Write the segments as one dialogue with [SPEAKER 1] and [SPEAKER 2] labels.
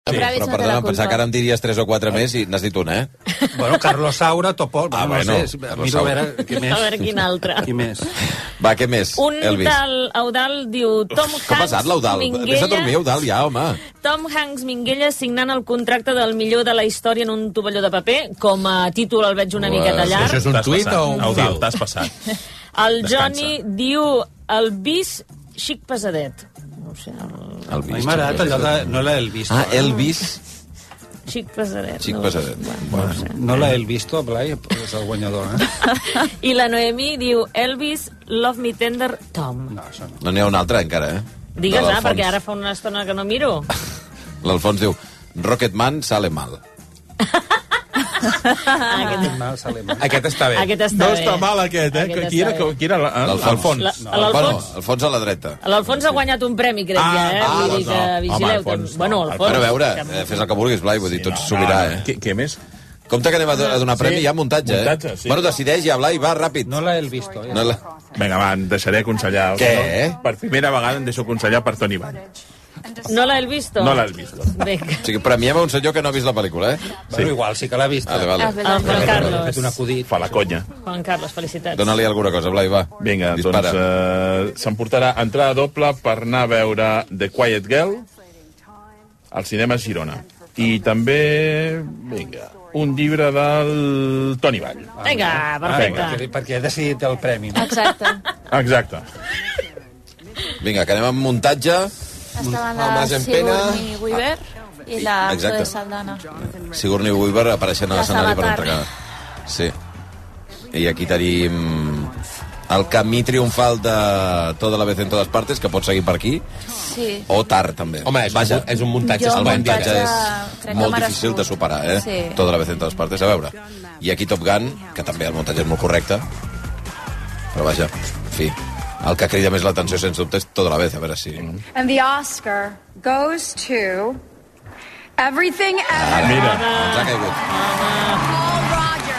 [SPEAKER 1] Sí,
[SPEAKER 2] Braves
[SPEAKER 1] però
[SPEAKER 2] no té
[SPEAKER 1] perdona,
[SPEAKER 2] la
[SPEAKER 1] em pensava
[SPEAKER 2] culpa.
[SPEAKER 1] que ara en diries 3 o 4 més i n'has dit una, eh?
[SPEAKER 3] Bueno, Carlos Saura, Topol...
[SPEAKER 1] Ah,
[SPEAKER 3] bueno,
[SPEAKER 1] bueno,
[SPEAKER 3] no sé,
[SPEAKER 1] Carlos
[SPEAKER 3] miro a
[SPEAKER 1] Saura.
[SPEAKER 3] veure qui més.
[SPEAKER 2] A veure quin altre.
[SPEAKER 3] Qui més.
[SPEAKER 1] Va, què més,
[SPEAKER 2] Un
[SPEAKER 1] Elvis?
[SPEAKER 2] del Eudal diu Tom
[SPEAKER 1] Què ha
[SPEAKER 2] Hanks
[SPEAKER 1] passat, l'Eudal? Vés a dormir, Eudal, ja, home.
[SPEAKER 2] Tom Hanks Minguella signant el contracte del millor de la història en un tovalló de paper. Com a títol el veig una
[SPEAKER 1] Uah,
[SPEAKER 2] miqueta
[SPEAKER 1] és que
[SPEAKER 2] llarg.
[SPEAKER 4] Això és un
[SPEAKER 5] T'has
[SPEAKER 4] tuit
[SPEAKER 5] passat,
[SPEAKER 4] o un
[SPEAKER 5] Eudal,
[SPEAKER 4] fil?
[SPEAKER 5] t'has passat.
[SPEAKER 2] El
[SPEAKER 5] Descansa.
[SPEAKER 2] Johnny diu el bis xic pesadet. No ho sé, el
[SPEAKER 1] El
[SPEAKER 3] A mi m'ha agradat allò de... No l'he vist.
[SPEAKER 1] Ah, Elvis,
[SPEAKER 2] xic pesadet.
[SPEAKER 1] xic
[SPEAKER 2] no.
[SPEAKER 1] pesadet. Bueno.
[SPEAKER 3] No l'he vist, Blai, però és el guanyador, eh?
[SPEAKER 2] I la Noemi diu Elvis, love me tender, Tom.
[SPEAKER 3] No, això no.
[SPEAKER 1] No n'hi ha una altra, encara, eh?
[SPEAKER 2] Digues,
[SPEAKER 1] De
[SPEAKER 2] ah,
[SPEAKER 1] l'Alfons.
[SPEAKER 2] perquè ara fa una estona que no miro.
[SPEAKER 1] L'Alfons diu, Rocketman sale mal.
[SPEAKER 2] Aquest,
[SPEAKER 3] Mal, sale mal.
[SPEAKER 4] Aquest està bé.
[SPEAKER 2] aquest està
[SPEAKER 4] no
[SPEAKER 2] bé.
[SPEAKER 4] està mal, aquest, eh?
[SPEAKER 2] Aquest
[SPEAKER 4] Aquest qui, era,
[SPEAKER 2] està bé.
[SPEAKER 4] qui era la- l'Alfons?
[SPEAKER 2] La-
[SPEAKER 4] eh, No.
[SPEAKER 2] l'Alfons.
[SPEAKER 1] Bueno, Alfons a la dreta.
[SPEAKER 2] L'Alfons ha guanyat un premi, crec,
[SPEAKER 4] Ah,
[SPEAKER 2] ja, eh?
[SPEAKER 4] ah,
[SPEAKER 2] Vull dir
[SPEAKER 4] doncs
[SPEAKER 2] que
[SPEAKER 4] no. Home,
[SPEAKER 2] vigileu.
[SPEAKER 4] Alfons, no.
[SPEAKER 2] Bueno,
[SPEAKER 4] Alfons.
[SPEAKER 2] Alfons...
[SPEAKER 1] Bueno, a veure,
[SPEAKER 2] que-
[SPEAKER 1] eh, fes el que vulguis, Blai, vull dir, tot
[SPEAKER 4] No,
[SPEAKER 1] s'obrirà,
[SPEAKER 4] no.
[SPEAKER 1] eh?
[SPEAKER 4] Què, què més?
[SPEAKER 1] Compte que anem a, do- a donar premi,
[SPEAKER 4] Sí.
[SPEAKER 1] hi ha muntatge, eh?
[SPEAKER 4] Muntatge, sí.
[SPEAKER 1] Bueno, decideix ja, Blai, va, ràpid.
[SPEAKER 3] No l'he vist, eh?
[SPEAKER 1] No la...
[SPEAKER 5] Vinga, va, em deixaré aconsellar.
[SPEAKER 1] Què?
[SPEAKER 5] No, Per primera vegada em deixo aconsellar per Toni Van.
[SPEAKER 2] No l'has vist?
[SPEAKER 5] No l'has vist.
[SPEAKER 2] Vinga.
[SPEAKER 1] O sigui, premiem a un senyor que no ha vist la pel·lícula, eh?
[SPEAKER 3] Bueno, igual, sí que l'ha vist. eh?
[SPEAKER 1] Vale,
[SPEAKER 6] Ah, és
[SPEAKER 1] vale.
[SPEAKER 2] El
[SPEAKER 6] veritat.
[SPEAKER 2] Juan
[SPEAKER 3] Ha fet un
[SPEAKER 2] Carlos.
[SPEAKER 3] acudit.
[SPEAKER 5] Fa la conya.
[SPEAKER 2] Juan Carlos, felicitats.
[SPEAKER 1] Dóna-li alguna cosa, Blai, va.
[SPEAKER 5] Vinga,
[SPEAKER 1] Dispara.
[SPEAKER 5] doncs eh, s'emportarà entrada doble per anar a veure The Quiet Girl al cinema Girona. I també, vinga, un llibre del Toni Vall.
[SPEAKER 2] Vinga,
[SPEAKER 3] Ah,
[SPEAKER 2] perfecte.
[SPEAKER 3] perquè, perquè ha decidit el premi. No?
[SPEAKER 6] Exacte.
[SPEAKER 5] Exacte.
[SPEAKER 1] Vinga, que anem amb muntatge.
[SPEAKER 6] Estaven
[SPEAKER 4] Home,
[SPEAKER 6] la
[SPEAKER 4] gent
[SPEAKER 6] Sigourney Weaver i la
[SPEAKER 1] Exacte.
[SPEAKER 6] Zoe Saldana.
[SPEAKER 1] Sigourney Weaver apareixent a
[SPEAKER 6] La
[SPEAKER 1] l'escenari per
[SPEAKER 6] Sabatar.
[SPEAKER 1] entregar. Sí. I aquí tenim el camí triomfal de Toda la vez en todas partes, que pot seguir per aquí,
[SPEAKER 6] Sí.
[SPEAKER 1] o tard, també.
[SPEAKER 4] Home, és,
[SPEAKER 1] Vaja,
[SPEAKER 4] un, és un muntatge
[SPEAKER 6] Jo,
[SPEAKER 1] el
[SPEAKER 4] esplèndid.
[SPEAKER 1] muntatge
[SPEAKER 6] muntatge crec
[SPEAKER 1] és
[SPEAKER 6] que
[SPEAKER 1] molt
[SPEAKER 6] merescut.
[SPEAKER 1] difícil de superar, eh?
[SPEAKER 6] Sí.
[SPEAKER 1] Toda la vez en todas partes, a veure. I aquí Top Gun, que també el muntatge és molt correcte, però vaja, en fi, el que crida més l'atenció, sens dubte, és Toda la vez, a veure si...
[SPEAKER 7] And the Oscar goes to Everything
[SPEAKER 5] Mira,
[SPEAKER 1] Ens ha caigut.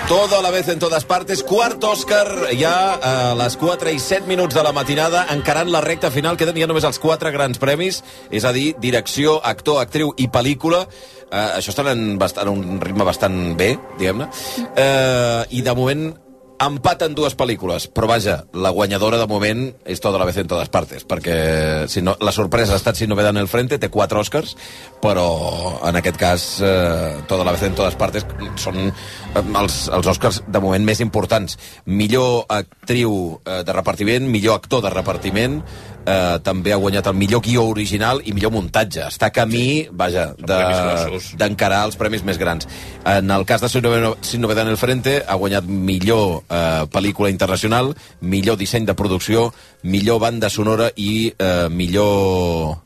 [SPEAKER 1] Todo a la vez en todas partes. Quart Òscar, ja eh, a les 4 i 7 minuts de la matinada, encarant la recta final. Queden ja només els quatre grans premis, és a dir, direcció, actor, actriu i pel·lícula. Eh, això està en, bastant, a un ritme bastant bé, diguem-ne. Eh, I de moment empat en dues pel·lícules, però vaja, la guanyadora de moment és tota la vez en totes partes, perquè si no, la sorpresa ha estat si no ve en el frente, té quatre Oscars, però en aquest cas eh, tota la vez en totes partes són eh, els, els Oscars de moment més importants. Millor actriu eh, de repartiment, millor actor de repartiment, eh, també ha guanyat el millor guió original i millor muntatge. Està a camí, vaja,
[SPEAKER 5] premis
[SPEAKER 1] de,
[SPEAKER 5] grossos.
[SPEAKER 1] d'encarar els premis més grans. En el cas de Sin Novedad- Sin Novedad en el Frente ha guanyat millor eh, pel·lícula internacional, millor disseny de producció, millor banda sonora i eh, millor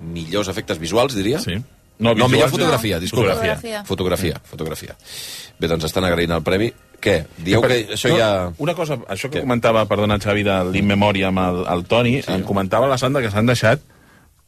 [SPEAKER 1] millors efectes visuals, diria?
[SPEAKER 5] Sí. No,
[SPEAKER 1] No, no
[SPEAKER 5] visuals,
[SPEAKER 1] millor
[SPEAKER 5] no.
[SPEAKER 1] fotografia, disculpa.
[SPEAKER 6] Fotografia.
[SPEAKER 1] Fotografia, fotografia. Bé, doncs estan agraint el premi. Què? Dieu que això
[SPEAKER 5] no,
[SPEAKER 1] ja...
[SPEAKER 5] Una cosa, això que
[SPEAKER 1] Què?
[SPEAKER 5] comentava, perdona, Xavi, de l'Inmemoria amb el, el Toni, sí. em comentava la Sandra que s'han deixat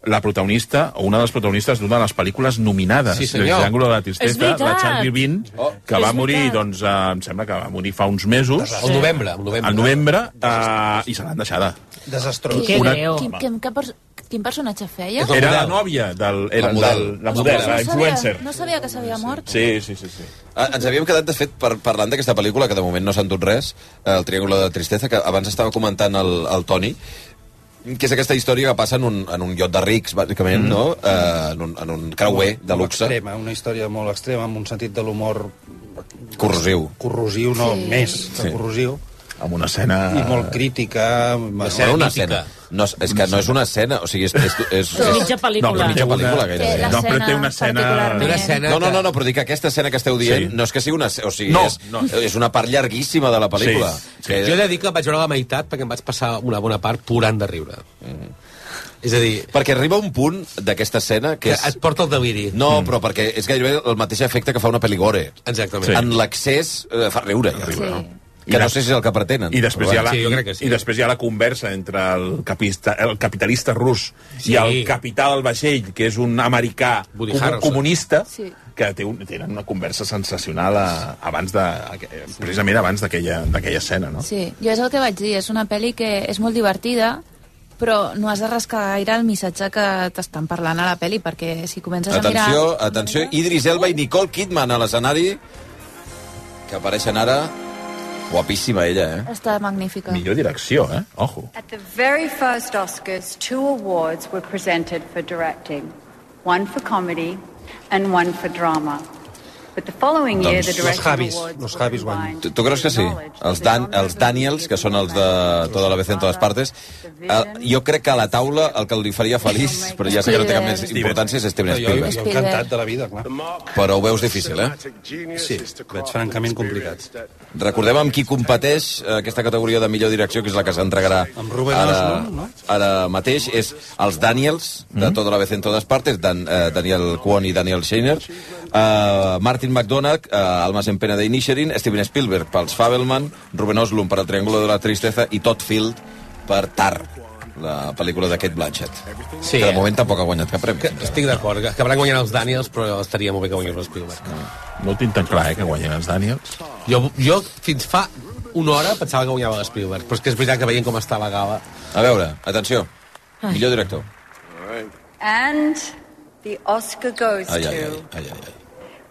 [SPEAKER 5] la protagonista, o una de les protagonistes d'una de les pel·lícules nominades.
[SPEAKER 4] Sí, senyor.
[SPEAKER 5] El Triángulo de la Tristesa,
[SPEAKER 2] És
[SPEAKER 5] la
[SPEAKER 2] veritat.
[SPEAKER 5] Chan Irving, oh, que
[SPEAKER 2] És
[SPEAKER 5] va morir,
[SPEAKER 2] veritat.
[SPEAKER 5] doncs, eh, em sembla que va morir fa uns mesos,
[SPEAKER 4] El novembre, el novembre.
[SPEAKER 5] al novembre, eh, i se l'han deixada.
[SPEAKER 3] Desastrós.
[SPEAKER 2] Que
[SPEAKER 5] Una-
[SPEAKER 2] greu.
[SPEAKER 6] Quin, quin, quin, pers quin personatge feia?
[SPEAKER 4] És la
[SPEAKER 5] Era la
[SPEAKER 4] model.
[SPEAKER 5] nòvia del... Era,
[SPEAKER 1] La model.
[SPEAKER 5] Del, la model, la influencer.
[SPEAKER 6] Sabia, no sabia que s'havia mort.
[SPEAKER 5] Sí, sí, sí. sí.
[SPEAKER 1] Ah, Ens havíem quedat, de fet, per, parlant d'aquesta pel·lícula, que de moment no s'han dut res, eh, el Triangle de la Tristesa, que abans estava comentant el, el Toni, que és aquesta història que passa en un, en un iot de rics, bàsicament, mm. no? Eh, en, un, en un creuer de
[SPEAKER 3] Molt
[SPEAKER 1] luxe,
[SPEAKER 3] Extrema, una història molt extrema, amb un sentit de l'humor
[SPEAKER 1] corrosiu.
[SPEAKER 3] corrosiu, no,
[SPEAKER 6] Sí.
[SPEAKER 3] més que
[SPEAKER 1] Sí.
[SPEAKER 3] corrosiu,
[SPEAKER 5] Amb una escena...
[SPEAKER 3] i molt crítica.
[SPEAKER 1] No, una
[SPEAKER 4] mítica.
[SPEAKER 1] escena. No, és- és que no és una escena, o sigui, és... és, és,
[SPEAKER 2] És
[SPEAKER 1] és
[SPEAKER 2] mitja pel·lícula.
[SPEAKER 1] mitja pel·lícula,
[SPEAKER 6] Té
[SPEAKER 1] gairebé.
[SPEAKER 5] No, però té una
[SPEAKER 6] l'escena
[SPEAKER 5] escena-
[SPEAKER 6] particularment.
[SPEAKER 4] Té una escena
[SPEAKER 1] No, no,
[SPEAKER 4] que-
[SPEAKER 1] no, no, però dic que aquesta escena que esteu dient
[SPEAKER 5] Sí.
[SPEAKER 1] no és que sigui una... O sigui,
[SPEAKER 5] No,
[SPEAKER 1] és,
[SPEAKER 5] no.
[SPEAKER 1] és una part llarguíssima de la pel·lícula.
[SPEAKER 5] Sí, sí.
[SPEAKER 1] Que,
[SPEAKER 4] Jo he de dir que vaig veure la meitat perquè em vaig passar una bona part plorant de riure. És a dir,
[SPEAKER 1] Perquè arriba un punt d'aquesta escena que
[SPEAKER 4] que
[SPEAKER 1] és...
[SPEAKER 4] et porta el deliri.
[SPEAKER 1] No, però perquè és gairebé el mateix efecte que fa una pel·ligore.
[SPEAKER 4] Exactament.
[SPEAKER 1] Sí.
[SPEAKER 5] Sí.
[SPEAKER 1] En l'accés eh, fa riure, ja.
[SPEAKER 6] Sí.
[SPEAKER 1] Que no sé si és el que pretenen.
[SPEAKER 5] I després, hi ha la,
[SPEAKER 4] Sí, jo crec que sí.
[SPEAKER 5] i després hi ha la conversa entre el capitalista, el capitalista rus sí. i el capità del vaixell, que és un americà
[SPEAKER 4] Woody
[SPEAKER 5] comu-
[SPEAKER 4] Harrelson.
[SPEAKER 5] comunista,
[SPEAKER 6] Sí.
[SPEAKER 5] que té un, tenen una conversa sensacional a, abans de, a- precisament abans d'aquella d'aquella escena. No?
[SPEAKER 6] Sí, jo és el que vaig dir, és una pel·li que és molt divertida, Però no has de rascar gaire el missatge que t'estan parlant a la peli, perquè si comences
[SPEAKER 1] Atenció,
[SPEAKER 6] a mirar...
[SPEAKER 1] atenció. Idris Elba i Nicole Kidman a l'escenari, que apareixen ara. Guapíssima ella, eh?
[SPEAKER 6] Està magnífica.
[SPEAKER 5] Millor direcció, eh? Ojo.
[SPEAKER 7] At the very first Oscars, two awards were presented for directing one for comedy and one for drama. But the following year, the
[SPEAKER 1] Doncs,
[SPEAKER 3] los
[SPEAKER 7] directing
[SPEAKER 3] Javis,
[SPEAKER 7] awards
[SPEAKER 3] los
[SPEAKER 7] were
[SPEAKER 3] Javis guanyen.
[SPEAKER 7] combined
[SPEAKER 1] Tu, tu creus que sí? Els, Dan, els Daniels, que són els de Toda la vez en todas partes, eh, jo crec que a la taula el que li faria feliç, però ja sé que no té cap més importància, és Steven
[SPEAKER 3] Jo,
[SPEAKER 1] Spielberg.
[SPEAKER 3] jo encantat de la vida, clar.
[SPEAKER 1] Però ho veus difícil, eh?
[SPEAKER 3] Sí, veig francament complicat.
[SPEAKER 1] Recordem amb qui competeix eh, aquesta categoria de millor direcció, que és la que s'entregarà
[SPEAKER 3] Amb Ruben
[SPEAKER 1] ara,
[SPEAKER 3] Östlund, no? Mm-hmm.
[SPEAKER 1] ara mateix. És els Daniels, de tota la vez en todas partes, Dan, eh, Daniel Kwon i Daniel Scheiner, eh, Martin McDonagh, eh, Almas en pena de Inisherin, Steven Spielberg pels Fabelman, Ruben Östlund per El Triángulo de la Tristeza i Todd Field per Tar, la pel·lícula d'aquest Blanchett.
[SPEAKER 4] Sí.
[SPEAKER 1] Que de moment tampoc ha guanyat cap premi.
[SPEAKER 4] Que, estic d'acord, que acabaran guanyant els Daniels, però estaria molt bé que guanyés l'Spielberg.
[SPEAKER 5] No ho tinc tan clar, eh, que guanyen els Daniels.
[SPEAKER 4] Jo, jo fins fa una hora pensava que guanyava l'Spielberg, però és que és veritat que veient com està la gala...
[SPEAKER 1] A veure, atenció. Millor director.
[SPEAKER 7] And the Oscar goes
[SPEAKER 1] Ai, ai, ai,
[SPEAKER 7] to
[SPEAKER 1] ai, ai. ai.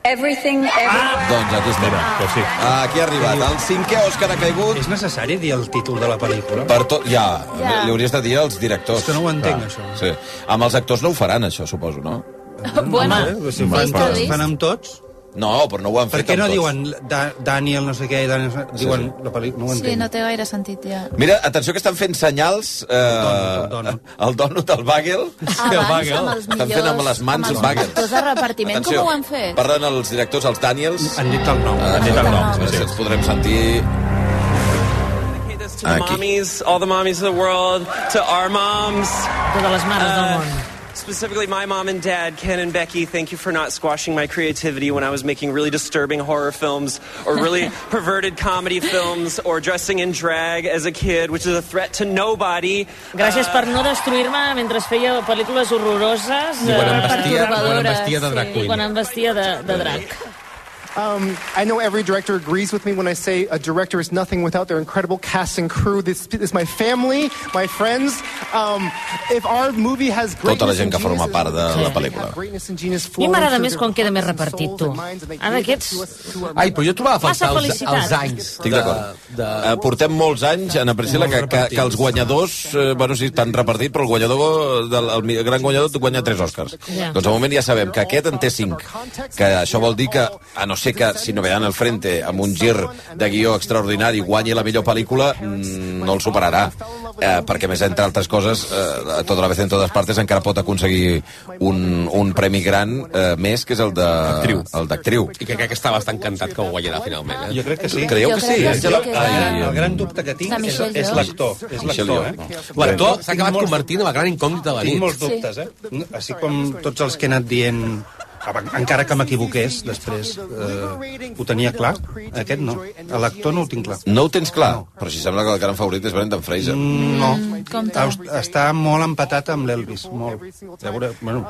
[SPEAKER 7] Everything Everywhere.
[SPEAKER 1] Doncs aquí estem.
[SPEAKER 5] que sí.
[SPEAKER 1] Ah, Aquí ha arribat. El cinquè Òscar ha caigut
[SPEAKER 3] És necessari dir el títol de la pel·lícula?
[SPEAKER 1] per tot... Ja,
[SPEAKER 6] Ja.
[SPEAKER 1] li hauries de dir als directors.
[SPEAKER 3] És que no ho entenc,
[SPEAKER 1] Clar.
[SPEAKER 3] això.
[SPEAKER 1] Sí. Amb els actors no ho faran, això, suposo, no?
[SPEAKER 6] Bueno,
[SPEAKER 3] Eh? Si fan,
[SPEAKER 6] Michael
[SPEAKER 3] tots,
[SPEAKER 6] Lee.
[SPEAKER 3] fan amb tots?
[SPEAKER 1] No, però no ho han
[SPEAKER 3] Per
[SPEAKER 1] fet
[SPEAKER 3] què
[SPEAKER 1] amb
[SPEAKER 3] no
[SPEAKER 1] tots.
[SPEAKER 3] diuen da Daniel no sé què, i Daniel... no sé- Diuen la pel·lícula... No ho entenc.
[SPEAKER 6] sí, no té gaire sentit, ja.
[SPEAKER 1] Mira, atenció que estan fent senyals... Eh,
[SPEAKER 3] El donut,
[SPEAKER 1] el donut, el bagel.
[SPEAKER 6] Abans, amb els millors...
[SPEAKER 1] Estan fent amb les mans
[SPEAKER 6] amb els
[SPEAKER 1] bagels.
[SPEAKER 6] actors de repartiment,
[SPEAKER 1] Atenció,
[SPEAKER 6] com ho han fet?
[SPEAKER 1] Parlen els directors, els Daniels.
[SPEAKER 3] Han dit el nom.
[SPEAKER 1] Ah,
[SPEAKER 6] dit el nom,
[SPEAKER 1] A veure si
[SPEAKER 5] sí.
[SPEAKER 1] els podrem sentir...
[SPEAKER 8] To the
[SPEAKER 1] Aquí.
[SPEAKER 8] mommies, all the mommies of the world, to our moms,
[SPEAKER 2] Totes les mares del
[SPEAKER 8] Uh,
[SPEAKER 2] món.
[SPEAKER 8] specifically my mom and dad, Ken and Becky, thank you for not squashing my creativity when I was making really disturbing horror films or really perverted comedy films or dressing in drag as a kid, which is a threat to nobody.
[SPEAKER 2] Gràcies per no destruir-me mentre feia pel·lícules horroroses.
[SPEAKER 4] I quan em
[SPEAKER 2] eh,
[SPEAKER 4] vestia, quan em
[SPEAKER 6] perturbadores,
[SPEAKER 4] vestia de drag
[SPEAKER 6] sí.
[SPEAKER 2] quan
[SPEAKER 4] queen.
[SPEAKER 2] em vestia de, de drac.
[SPEAKER 9] Um, I know every director agrees with me when I say a director is nothing without their incredible cast and crew. This is my family, my friends. Um, if our movie has greatness
[SPEAKER 1] Tota la gent
[SPEAKER 9] and
[SPEAKER 1] que forma
[SPEAKER 9] genius-
[SPEAKER 1] part de la
[SPEAKER 9] Yeah.
[SPEAKER 1] pel·lícula.
[SPEAKER 9] Greatness and genius
[SPEAKER 2] A mi m'agrada
[SPEAKER 9] flowing
[SPEAKER 2] més
[SPEAKER 9] through
[SPEAKER 2] quan
[SPEAKER 9] their
[SPEAKER 2] queda més
[SPEAKER 9] hearts and
[SPEAKER 2] repartit,
[SPEAKER 9] souls
[SPEAKER 2] tu.
[SPEAKER 9] and minds, and they
[SPEAKER 2] Ara
[SPEAKER 9] gave it
[SPEAKER 2] aquests-
[SPEAKER 9] to us through our
[SPEAKER 4] Ai, però jo trobava a faltar
[SPEAKER 2] Massa
[SPEAKER 4] els,
[SPEAKER 2] felicitat.
[SPEAKER 4] els anys
[SPEAKER 1] Estic d'acord.
[SPEAKER 4] de, de,
[SPEAKER 1] Eh, portem molts anys en apreciar que, que, que els guanyadors, eh, bueno, sí, estan repartit, però el guanyador, del, el mi- gran guanyador guanya tres Oscars.
[SPEAKER 2] Ja.
[SPEAKER 1] Doncs de moment ja sabem que aquest en té cinc, que això vol dir que, a no ser que si no veran al frente amb un gir de guió extraordinari guanyi la millor pel·lícula, mm, no el superarà. Eh, perquè, a més, entre altres coses, eh, tota la vez en totes partes encara pot aconseguir un, un premi gran eh, més, que és el de- el d'actriu.
[SPEAKER 4] I que crec que està bastant encantat que ho guanyarà finalment. Eh?
[SPEAKER 3] Jo crec que sí.
[SPEAKER 1] Creieu
[SPEAKER 6] Jo
[SPEAKER 1] que
[SPEAKER 6] crec
[SPEAKER 1] sí?
[SPEAKER 6] que sí,
[SPEAKER 1] Angela?
[SPEAKER 6] que-
[SPEAKER 1] Ai,
[SPEAKER 3] El gran dubte que tinc
[SPEAKER 6] De
[SPEAKER 3] és,
[SPEAKER 6] Michelle
[SPEAKER 3] és
[SPEAKER 6] Yeoh.
[SPEAKER 3] l'actor. És l'actor,
[SPEAKER 1] Michelle
[SPEAKER 3] eh?
[SPEAKER 4] L'actor s'ha
[SPEAKER 3] Tinc
[SPEAKER 4] acabat
[SPEAKER 3] molts-
[SPEAKER 4] convertint en la gran incògnita de la
[SPEAKER 3] Tinc
[SPEAKER 4] nit.
[SPEAKER 3] molts dubtes, eh? No, Així com tots els que he anat dient abans- encara que m'equivoqués després eh, ho tenia clar aquest no, A l'actor no ho tinc clar
[SPEAKER 1] No ho tens clar, però si sembla que el gran favorit és Brendan Fraser.
[SPEAKER 3] no,
[SPEAKER 6] compte.
[SPEAKER 3] Aus- està molt empatat amb l'Elvis molt. Ja veure, bueno,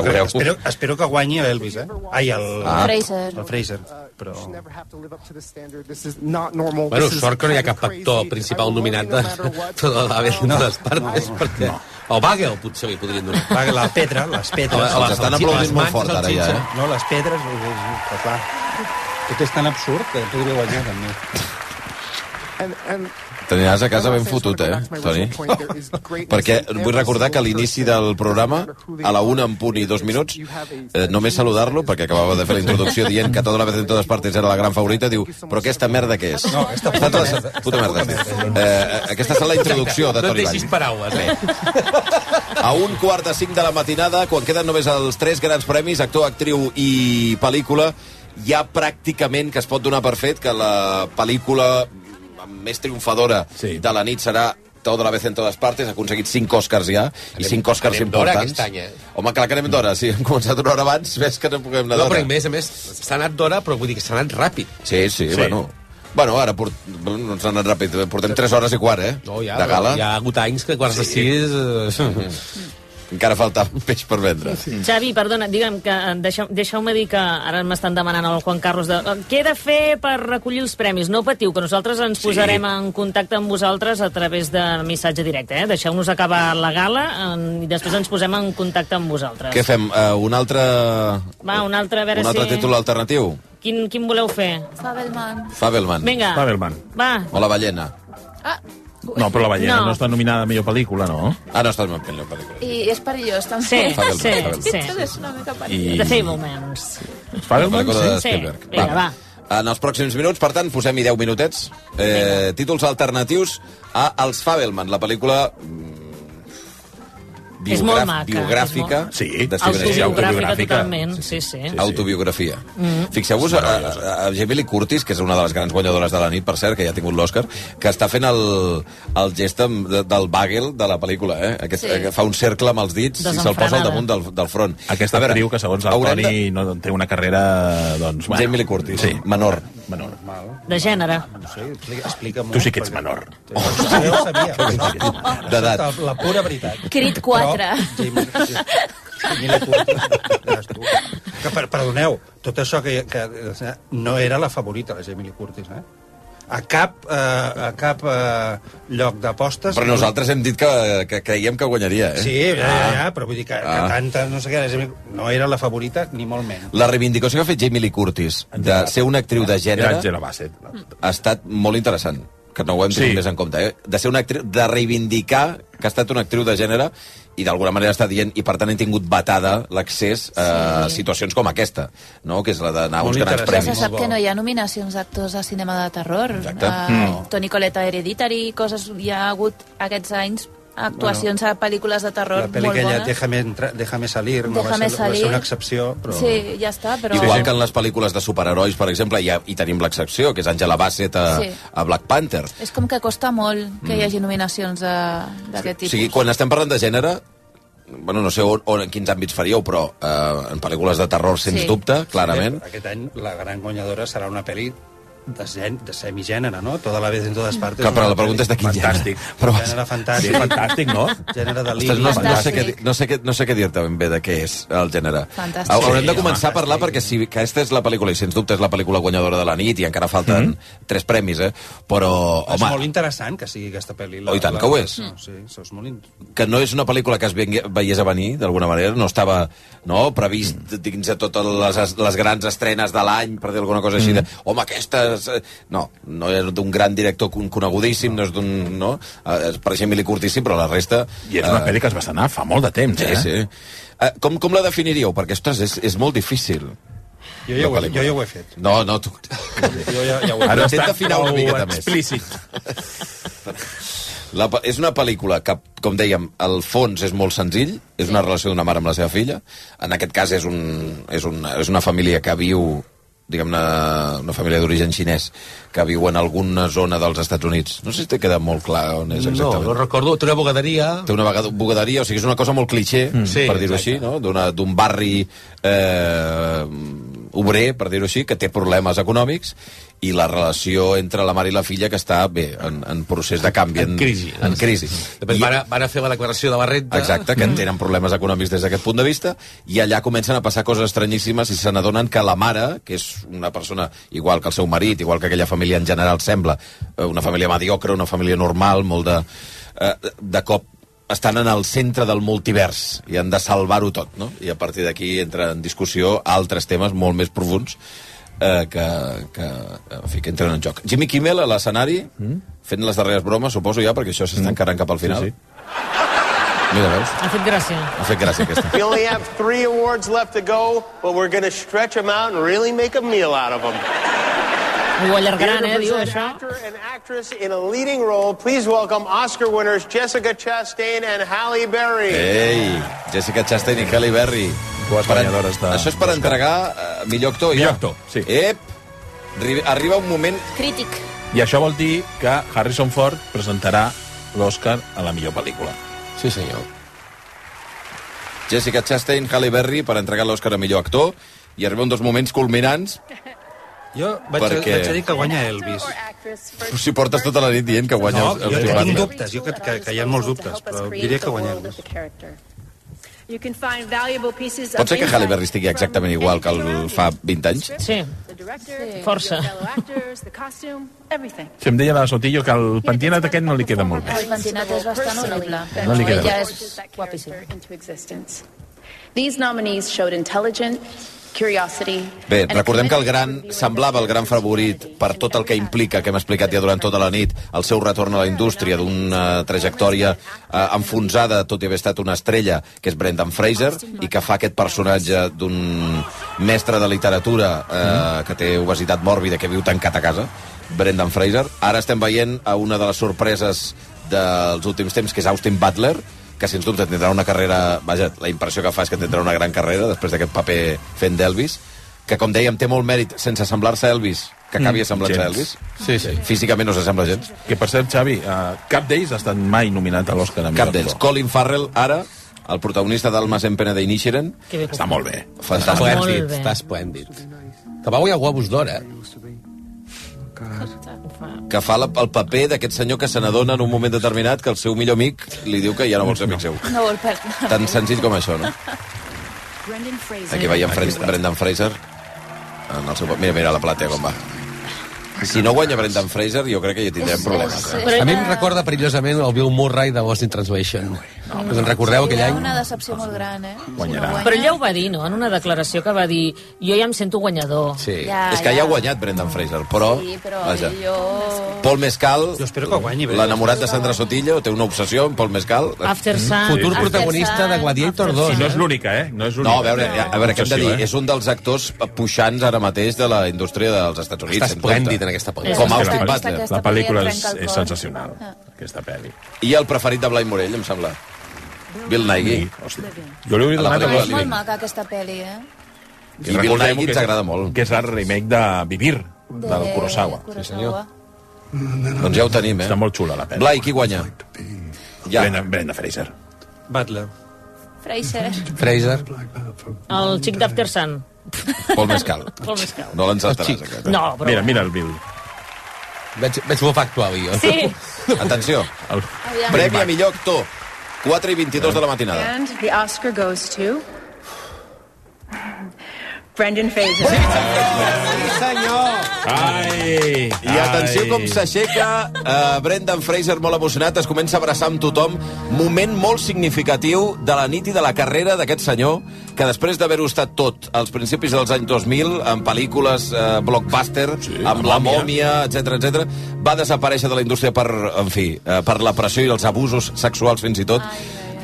[SPEAKER 3] jo
[SPEAKER 1] ho
[SPEAKER 3] crec-
[SPEAKER 1] veureu.
[SPEAKER 3] espero, espero que guanyi l'Elvis eh? ai, el,
[SPEAKER 1] Ah.
[SPEAKER 6] Fraser.
[SPEAKER 3] el Fraser però
[SPEAKER 9] should never have to live up to this standard. This is not normal.
[SPEAKER 4] Bueno,
[SPEAKER 9] This is
[SPEAKER 4] sort que no hi ha
[SPEAKER 9] kinda
[SPEAKER 4] cap
[SPEAKER 9] crazy.
[SPEAKER 4] actor
[SPEAKER 9] I
[SPEAKER 4] principal
[SPEAKER 9] will
[SPEAKER 4] nominat
[SPEAKER 9] love
[SPEAKER 4] de
[SPEAKER 9] you no matter what.
[SPEAKER 4] tota la vez de les partes,
[SPEAKER 3] No, no.
[SPEAKER 4] perquè... O Bagel, potser li podrien donar.
[SPEAKER 3] va, la pedra, les pedres
[SPEAKER 4] Hola, hola.
[SPEAKER 1] Ens estan
[SPEAKER 4] les
[SPEAKER 1] aplaudint molt
[SPEAKER 4] mans,
[SPEAKER 1] fort
[SPEAKER 4] el
[SPEAKER 1] ara ja,
[SPEAKER 4] xinxa.
[SPEAKER 1] eh?
[SPEAKER 3] no, les pedres eh, eh, però clar, tot és tan absurd que podria guanyar també
[SPEAKER 9] And- and-
[SPEAKER 1] T'aniràs a casa ben fotut, eh, Toni? Perquè vull recordar que a l'inici del programa, a la una en punt i dos minuts, eh, només saludar-lo, perquè acabava de fer la introducció dient que tota la vez en totes partes era la gran favorita, diu, però aquesta merda què és? No,
[SPEAKER 3] aquesta
[SPEAKER 1] puta
[SPEAKER 3] merda.
[SPEAKER 1] merda. Puta merda. Eh, eh, aquesta és la introducció de
[SPEAKER 4] No et
[SPEAKER 1] Toni
[SPEAKER 4] deixis
[SPEAKER 1] Vall.
[SPEAKER 4] paraules, eh?
[SPEAKER 1] A un quart de cinc de la matinada, quan queden només els tres grans premis, actor, actriu i pel·lícula, ja pràcticament que es pot donar per fet que la pel·lícula més triomfadora sí.
[SPEAKER 4] Sí.
[SPEAKER 1] de la nit serà Todo la vez en todas partes, ha aconseguit cinc Oscars ja, i cinc Oscars
[SPEAKER 4] anem d'hora aquest
[SPEAKER 1] importants.
[SPEAKER 4] any, eh? Mm.
[SPEAKER 1] Home, clar que anem d'hora, si hem començat una hora abans, ves que no puguem anar
[SPEAKER 4] No, però
[SPEAKER 1] d'hora.
[SPEAKER 4] a més, a més, s'ha anat d'hora, però vull dir que s'ha anat ràpid.
[SPEAKER 1] Sí, sí, sí, bueno. Bueno, ara port... bueno, no ens ha anat ràpid, portem 3 hores i quart, eh?
[SPEAKER 4] No, ja,
[SPEAKER 1] de gala.
[SPEAKER 4] Hi ha hagut anys que quarts de sis... Eh,
[SPEAKER 1] Encara falta peix per vendre. Sí.
[SPEAKER 2] Xavi, perdona, digue'm, que eh, deixeu- deixeu-me dir que ara m'estan demanant al Juan Carlos de, eh, què he de fer per recollir els premis? No patiu, que nosaltres ens
[SPEAKER 5] Sí.
[SPEAKER 2] posarem en contacte amb vosaltres a través de missatge directe. Eh? Deixeu-nos acabar la gala eh, i després ens posem en contacte amb vosaltres.
[SPEAKER 1] Què fem? Uh, un altre,
[SPEAKER 2] Va, un altre, a veure
[SPEAKER 1] un altre
[SPEAKER 2] si...
[SPEAKER 1] títol alternatiu?
[SPEAKER 2] Quin, quin voleu fer?
[SPEAKER 6] Fabelman.
[SPEAKER 1] Fabelman.
[SPEAKER 2] Vinga,
[SPEAKER 5] Fabelman.
[SPEAKER 2] va.
[SPEAKER 1] O La ballena.
[SPEAKER 6] Ah,
[SPEAKER 5] No, però La ballena
[SPEAKER 2] No.
[SPEAKER 5] no, està nominada a millor pel·lícula, no?
[SPEAKER 1] Ah, no, estàs molt fent la pel·lícula.
[SPEAKER 6] i és perillós, també.
[SPEAKER 2] Sí,
[SPEAKER 1] Fabelman,
[SPEAKER 2] sí,
[SPEAKER 1] Fabelman.
[SPEAKER 2] sí.
[SPEAKER 6] És una mica perillós.
[SPEAKER 5] I...
[SPEAKER 2] The Fablemans.
[SPEAKER 1] La
[SPEAKER 5] Fabelman,
[SPEAKER 1] pel·lícula
[SPEAKER 5] sí.
[SPEAKER 1] de
[SPEAKER 2] Sí,
[SPEAKER 1] Spielberg.
[SPEAKER 2] vinga, va.
[SPEAKER 1] En els pròxims minuts, per tant, posem-hi 10 minutets. Eh, títols alternatius a Els Fabelman, la pel·lícula... mm,
[SPEAKER 2] És molt
[SPEAKER 1] biogra-
[SPEAKER 2] maca,
[SPEAKER 1] Biogràfica.
[SPEAKER 5] és molt- Sí,
[SPEAKER 1] de Steven
[SPEAKER 5] sí,
[SPEAKER 1] Spielberg.
[SPEAKER 2] Autobiogràfica
[SPEAKER 5] autobiogràfica.
[SPEAKER 2] totalment, sí, sí.
[SPEAKER 5] Sí.
[SPEAKER 1] Autobiografia. Mm. Fixeu-vos a, a, a Jamie Lee Curtis, que és una de les grans guanyadores de la nit, per cert, que ja ha tingut l'Oscar, que està fent el, el gest amb, de, del bagel de la pel·lícula, eh? Aquest,
[SPEAKER 6] Sí.
[SPEAKER 1] sí. Fa un cercle amb els dits i se'l posa al
[SPEAKER 2] Desenfrenada.
[SPEAKER 1] damunt del, del front.
[SPEAKER 5] Aquesta
[SPEAKER 1] A veure,
[SPEAKER 5] actriu que, segons Doncs el
[SPEAKER 1] haurem
[SPEAKER 5] Toni, no té una carrera, doncs...
[SPEAKER 1] De... Jamie Lee Curtis,
[SPEAKER 5] Sí.
[SPEAKER 1] sí. menor.
[SPEAKER 5] Menor.
[SPEAKER 2] De gènere.
[SPEAKER 3] No sé, explica, explica molt.
[SPEAKER 5] Tu sí que ets menor.
[SPEAKER 3] Jo ho sabia.
[SPEAKER 1] D'edat.
[SPEAKER 3] Això és La pura veritat.
[SPEAKER 6] Crit 4.
[SPEAKER 3] Sí, mira, sí. Mira tu, veràs tu. Que, per, perdoneu, tot això que, que eh, no era la favorita, la Jamie Lee Curtis, eh? A cap, eh, a cap eh, lloc d'apostes...
[SPEAKER 1] Però nosaltres hem dit que, que creiem que guanyaria, eh?
[SPEAKER 3] Sí, ja, ja, ja, però vull dir que, que
[SPEAKER 1] Ah.
[SPEAKER 3] tanta, no sé què, la Jamie- no era la favorita, ni molt menys.
[SPEAKER 1] La reivindicació que ha fet Jamie Lee Curtis de ser una actriu de
[SPEAKER 5] Era
[SPEAKER 1] gènere
[SPEAKER 5] Angela Bassett.
[SPEAKER 1] ha estat molt interessant que no ho hem tingut
[SPEAKER 5] Sí.
[SPEAKER 1] sí. més en compte, eh? de ser una actriu, de reivindicar que ha estat una actriu de gènere i d'alguna manera està dient, i per tant hem tingut batada l'accés a
[SPEAKER 6] Sí.
[SPEAKER 1] situacions com aquesta, no? que és la d'anar a uns
[SPEAKER 3] Molt
[SPEAKER 1] grans
[SPEAKER 6] Ja se
[SPEAKER 1] premis.
[SPEAKER 3] interessant.
[SPEAKER 6] sap que no hi ha nominacions d'actors a cinema de terror.
[SPEAKER 1] Exacte.
[SPEAKER 6] Uh, no. Toni Coleta Hereditary, coses... Hi ha hagut aquests anys actuacions a pel·lícules de terror
[SPEAKER 3] La pel·li
[SPEAKER 6] molt
[SPEAKER 3] que ella,
[SPEAKER 6] bones.
[SPEAKER 3] Déjame, entra, déjame salir, no
[SPEAKER 6] Déjame
[SPEAKER 3] va ser, va
[SPEAKER 6] salir.
[SPEAKER 3] ser una excepció, però...
[SPEAKER 6] Sí, ja està, però...
[SPEAKER 1] Igual que en les pel·lícules de superherois, per exemple, hi, ha, hi tenim l'excepció, que és Angela Bassett a,
[SPEAKER 6] Sí.
[SPEAKER 1] a Black Panther.
[SPEAKER 6] És com que costa molt que hi hagi nominacions de- d'aquest
[SPEAKER 1] O
[SPEAKER 6] tipus.
[SPEAKER 1] sigui, quan estem parlant de gènere, bueno, no sé on, on, en quins àmbits faríeu, però eh, en pel·lícules de terror, sens
[SPEAKER 6] Sí.
[SPEAKER 1] dubte, clarament.
[SPEAKER 3] Aquest any la gran guanyadora serà una pel·li de, gen, de semigènere, no? Toda la vez en todas partes.
[SPEAKER 1] Que, però la pregunta és de quin
[SPEAKER 5] Fantàstic.
[SPEAKER 1] gènere.
[SPEAKER 3] Però...
[SPEAKER 1] Però,
[SPEAKER 3] Gènere
[SPEAKER 5] Sí,
[SPEAKER 3] fantàstic,
[SPEAKER 5] fantàstic, no?
[SPEAKER 3] gènere de
[SPEAKER 1] Ostres,
[SPEAKER 3] líric.
[SPEAKER 1] no, no, sé
[SPEAKER 6] Fantàstic.
[SPEAKER 1] què, dir- no, sé què, no sé què dir-te ben bé de què és el gènere.
[SPEAKER 6] Fantàstic.
[SPEAKER 1] Haurem de
[SPEAKER 5] Sí,
[SPEAKER 1] començar a parlar perquè si, que aquesta és la pel·lícula i sens dubte és la pel·lícula guanyadora de la nit i encara falten tres premis, eh? Però,
[SPEAKER 3] Mm-hmm. és
[SPEAKER 1] home,
[SPEAKER 3] molt interessant que sigui aquesta pel·li.
[SPEAKER 1] Oh, i tant que ho és.
[SPEAKER 3] No, sí, això és molt... In...
[SPEAKER 1] que no és una pel·lícula que es vengui- veiés a venir, d'alguna manera, no estava no,
[SPEAKER 5] Mm.
[SPEAKER 1] previst dins de totes les, les grans estrenes de l'any, per dir alguna cosa així,
[SPEAKER 5] Mm.
[SPEAKER 1] de, home, aquesta... És... eh", No, no és d'un gran director con- conegudíssim, no és d'un... No? Eh, És per exemple, Emily Curtis, sí, però la resta...
[SPEAKER 5] I és una
[SPEAKER 1] eh,
[SPEAKER 5] pel·li que es va estrenar fa molt de temps,
[SPEAKER 1] Sí,
[SPEAKER 5] eh?
[SPEAKER 1] sí. Eh, com, com la definiríeu? Perquè, ostres, és, és molt difícil.
[SPEAKER 3] Jo, ja ho, he-
[SPEAKER 1] La pel·lícula.
[SPEAKER 3] jo ja ho he fet.
[SPEAKER 1] No, no, tu...
[SPEAKER 3] Jo ja, ja ho he
[SPEAKER 1] Ara
[SPEAKER 3] fet.
[SPEAKER 1] intenta afinar una
[SPEAKER 5] prou
[SPEAKER 1] miqueta més.
[SPEAKER 5] Explícit.
[SPEAKER 1] La, pe- és una pel·lícula que, com dèiem, el fons és molt senzill, és una relació d'una mare amb la seva filla. En aquest cas és, un, és, una, és una família que viu diguem-ne, una família d'origen xinès que viu en alguna zona dels Estats Units. No sé si t'ha quedat molt clar on és
[SPEAKER 4] No,
[SPEAKER 1] exactament.
[SPEAKER 4] no recordo. Té una bogaderia...
[SPEAKER 1] Té una vegada bugaderia, o sigui, és una cosa molt cliché, mm.
[SPEAKER 4] Sí,
[SPEAKER 1] per dir-ho així,
[SPEAKER 4] exacte.
[SPEAKER 1] no? D'una- d'un barri eh, obrer, per dir-ho així, que té problemes econòmics, i la relació entre la mare i la filla que està, bé, en, en procés de canvi.
[SPEAKER 4] En crisi. doncs.
[SPEAKER 1] En crisi.
[SPEAKER 4] Després van, a- van a fer la declaració de la Mm. renta.
[SPEAKER 1] Exacte, que tenen problemes econòmics des d'aquest punt de vista, i allà comencen a passar coses estranyíssimes i se n'adonen que la mare, que és una persona igual que el seu marit, igual que aquella família en general sembla, eh, una família mediocre, una família normal, molt de... eh, De cop estan en el centre del multivers i han de salvar-ho tot, no? I a partir d'aquí entra en discussió altres temes molt més profuns eh, que, que, en fi, que entren en joc. Jimmy Kimmel a l'escenari, fent les darreres bromes, suposo ja, perquè això s'està encarant cap al final.
[SPEAKER 5] Mm. sí.
[SPEAKER 1] Mira, veus?
[SPEAKER 2] Ha fet gràcia.
[SPEAKER 1] Ha fet gràcia aquesta.
[SPEAKER 10] We only have three awards left to go, but we're going to stretch them out and really make a meal out of them.
[SPEAKER 2] Ho allargaran, eh, diu, això.
[SPEAKER 10] actor and actress in a leading role, please welcome Oscar winners Jessica Chastain and Halle Berry.
[SPEAKER 1] Ei, Jessica Chastain i Halle Berry.
[SPEAKER 5] Dues
[SPEAKER 1] Per en-
[SPEAKER 5] guanyadores de-
[SPEAKER 1] Això és per entregar uh, millor actor, ja.
[SPEAKER 5] Millor actor, sí.
[SPEAKER 1] Ep, Arri- arriba un moment...
[SPEAKER 6] Crític.
[SPEAKER 5] I això vol dir que Harrison Ford presentarà l'Oscar a la millor pel·lícula.
[SPEAKER 4] Sí, senyor.
[SPEAKER 1] Jessica Chastain, Halle Berry, per entregar l'Oscar a millor actor, i arriba un dels moments culminants.
[SPEAKER 3] Jo vaig,
[SPEAKER 1] Perquè-
[SPEAKER 3] vaig a dir que guanya Elvis.
[SPEAKER 1] Tu si portes tota la nit dient que guanya
[SPEAKER 3] No,
[SPEAKER 1] el,
[SPEAKER 3] jo
[SPEAKER 1] el
[SPEAKER 3] tinc
[SPEAKER 1] Barney.
[SPEAKER 3] dubtes, jo que- que- que hi ha molts dubtes, però diria que guanyarem.
[SPEAKER 11] You can find valuable pieces
[SPEAKER 1] Pot ser que
[SPEAKER 11] of
[SPEAKER 1] Halle Berry estigui exactament igual que el fa 20 anys?
[SPEAKER 2] Sí.
[SPEAKER 11] the director,
[SPEAKER 2] Força.
[SPEAKER 11] your fellow actors, the costume, everything.
[SPEAKER 5] Si em deia de la Sotillo que el pentinat aquest no li queda molt bé.
[SPEAKER 6] El pentinat és bastant horrible.
[SPEAKER 5] No li queda
[SPEAKER 6] Ella
[SPEAKER 5] bé.
[SPEAKER 6] és guapíssima.
[SPEAKER 11] Into existence. These nominees showed intelligent curiosity.
[SPEAKER 1] Bé, recordem que el gran semblava el gran favorit per tot el que implica, que hem explicat ja durant tota la nit, el seu retorn a la indústria d'una trajectòria eh, enfonsada, tot i haver estat una estrella, que és Brendan Fraser, i que fa aquest personatge d'un mestre de literatura eh, que té obesitat mòrbida, que viu tancat a casa, Brendan Fraser. Ara estem veient a una de les sorpreses dels últims temps, que és Austin Butler, que sens dubte tindrà una carrera... Vaja, la impressió que fa és que tindrà una gran carrera després d'aquest paper fent d'Elvis, que, com dèiem, té molt mèrit sense semblar-se a Elvis, que acabi
[SPEAKER 5] Mm,
[SPEAKER 1] mm, semblant-se a
[SPEAKER 5] gens.
[SPEAKER 1] Elvis.
[SPEAKER 5] Sí, sí.
[SPEAKER 1] Físicament no s'assembla gens.
[SPEAKER 5] Que, per cert, Xavi, uh, cap d'ells ha estat mai nominat a l'Òscar.
[SPEAKER 1] Cap d'ells. Colin Farrell, ara, el protagonista d'Almas en pena d'Initiaren.
[SPEAKER 2] Que bé.
[SPEAKER 1] Està molt bé.
[SPEAKER 4] Està
[SPEAKER 1] Fantàstic.
[SPEAKER 4] esplèndid, està esplèndid. Que va guanyar Globus d'Or, eh?
[SPEAKER 1] Que fa la, el paper d'aquest senyor que se n'adona en un moment determinat que el seu millor amic li diu que ja no vol ser amic seu.
[SPEAKER 6] No vol perdre.
[SPEAKER 1] Tan senzill com això, no?
[SPEAKER 11] Brendan Fraser.
[SPEAKER 1] Aquí veiem Fred, Brendan Fraser en el seu... Mira, mira la platea com va. Si no guanya Brendan Fraser, jo crec que ja tindrem problemes. Eh?
[SPEAKER 4] A mi em recorda perillosament el Bill Murray de Lost in Translation. No, Ah, us en recordeu aquell
[SPEAKER 6] Seria
[SPEAKER 4] any?
[SPEAKER 6] una decepció molt gran, eh?
[SPEAKER 4] Guanyarà.
[SPEAKER 2] Però ella ho va dir, no?, en una declaració que va dir jo ja em sento guanyador.
[SPEAKER 1] Sí.
[SPEAKER 2] Ja,
[SPEAKER 1] és que
[SPEAKER 2] ja.
[SPEAKER 1] ja ha guanyat Brendan Fraser, però...
[SPEAKER 2] Sí, però
[SPEAKER 1] vaja.
[SPEAKER 6] Jo...
[SPEAKER 1] Paul Mescal, l'enamorat de Sandra Sotillo, té una obsessió amb Paul Mescal.
[SPEAKER 2] After Sun.
[SPEAKER 1] Futur
[SPEAKER 2] After protagonista Sun, de Gladiator After 2, Sun.
[SPEAKER 5] I no és l'única, eh? No, és l'única.
[SPEAKER 1] No, a veure, a, a veure què hem de dir?
[SPEAKER 5] Obsessió, eh?
[SPEAKER 1] És un dels actors puixants ara mateix de la indústria dels Estats Units.
[SPEAKER 4] Està
[SPEAKER 1] sens dubte.
[SPEAKER 4] esplèndid en aquesta pel·lícula.
[SPEAKER 1] Com
[SPEAKER 4] És que
[SPEAKER 1] Austin
[SPEAKER 4] la-
[SPEAKER 1] Butler.
[SPEAKER 4] aquesta- La pel·lícula és- trenca el és cor. Ah.
[SPEAKER 5] sensacional, aquesta pel·li.
[SPEAKER 1] I el preferit de Blai Morell, em sembla. Bill Nighy.
[SPEAKER 5] Jo li hauria
[SPEAKER 1] A la
[SPEAKER 5] donat a
[SPEAKER 1] pel·lícula
[SPEAKER 5] Gosling.
[SPEAKER 6] Molt maca aquesta pel·li, eh?
[SPEAKER 1] I Bill Nighy ens agrada
[SPEAKER 5] molt. Que és el remake de Vivir, del Kurosawa.
[SPEAKER 6] Sí, senyor.
[SPEAKER 1] Doncs ja ho tenim, eh?
[SPEAKER 5] Està molt xula la pel·li.
[SPEAKER 1] Blai, qui guanya?
[SPEAKER 5] Ja. Brenda, Brenda Fraser.
[SPEAKER 3] Butler.
[SPEAKER 6] Fraser.
[SPEAKER 4] Fraser.
[SPEAKER 2] El xic d'After Sun.
[SPEAKER 1] Paul Mescal.
[SPEAKER 2] Paul Mescal.
[SPEAKER 1] No l'encertaràs,
[SPEAKER 4] El xic.
[SPEAKER 1] aquest. eh?
[SPEAKER 2] No, però-
[SPEAKER 5] Mira, mira el Bill.
[SPEAKER 4] Veig, veig molt factual, jo.
[SPEAKER 2] Sí.
[SPEAKER 1] Atenció. Premi a millor actor. 4 i 22 de la matinada.
[SPEAKER 11] And the Oscar goes to Brendan Fraser.
[SPEAKER 4] senyor!
[SPEAKER 5] Ai!
[SPEAKER 1] I atenció com s'aixeca eh, Brendan Fraser molt emocionat, es comença a abraçar amb tothom. Moment molt significatiu de la nit i de la carrera d'aquest senyor, que després d'haver-ho estat tot als principis dels anys 2000, amb pel·lícules eh, blockbuster, sí, amb La Mòmia, etc etc, va desaparèixer de la indústria per, en fi, eh, per la pressió i els abusos sexuals fins i tot.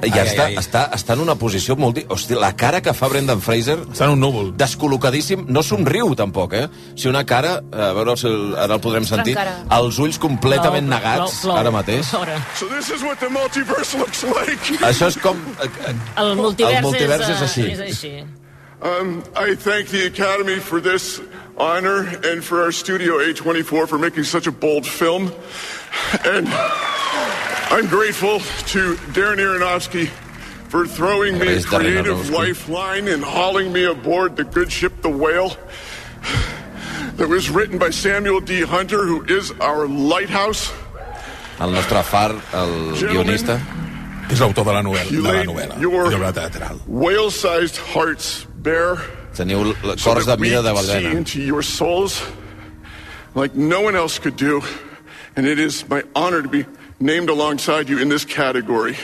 [SPEAKER 1] I ja
[SPEAKER 5] Ai,
[SPEAKER 1] està,
[SPEAKER 5] ai, ai.
[SPEAKER 1] està, està en una posició molt... Di... Hosti, la cara que fa Brendan Fraser...
[SPEAKER 5] Està en un núvol.
[SPEAKER 1] Descol·locadíssim. No somriu, tampoc, eh? Si una cara... A veure, si el- ara el podrem sentir.
[SPEAKER 12] Trencarà.
[SPEAKER 1] Els ulls completament
[SPEAKER 12] Plou,
[SPEAKER 1] negats,
[SPEAKER 12] plou, plou.
[SPEAKER 1] ara mateix.
[SPEAKER 12] So this is what the multiverse looks like.
[SPEAKER 1] Això és com... eh, eh,
[SPEAKER 2] El multivers,
[SPEAKER 1] el multivers és,
[SPEAKER 2] eh,
[SPEAKER 1] així.
[SPEAKER 2] És així.
[SPEAKER 12] Um, I thank the Academy for this honor and for our studio A24 for making such a bold film. And I'm grateful to Darren Aronofsky for throwing me a
[SPEAKER 1] Agradeix Darren
[SPEAKER 12] creative
[SPEAKER 1] Aronofsky.
[SPEAKER 12] lifeline and hauling me aboard the good ship, the whale. That was written by Samuel D. Hunter, who is our lighthouse.
[SPEAKER 1] El nostre far, el guionista.
[SPEAKER 5] És l'autor de la novel·la.
[SPEAKER 12] You laid your whale-sized hearts bare
[SPEAKER 1] Teniu l- l-
[SPEAKER 12] so
[SPEAKER 1] cors de
[SPEAKER 12] that we
[SPEAKER 1] vida de
[SPEAKER 12] could see
[SPEAKER 1] balena.
[SPEAKER 12] into your souls like no one else could do. And it is my honor to be named alongside you in this category.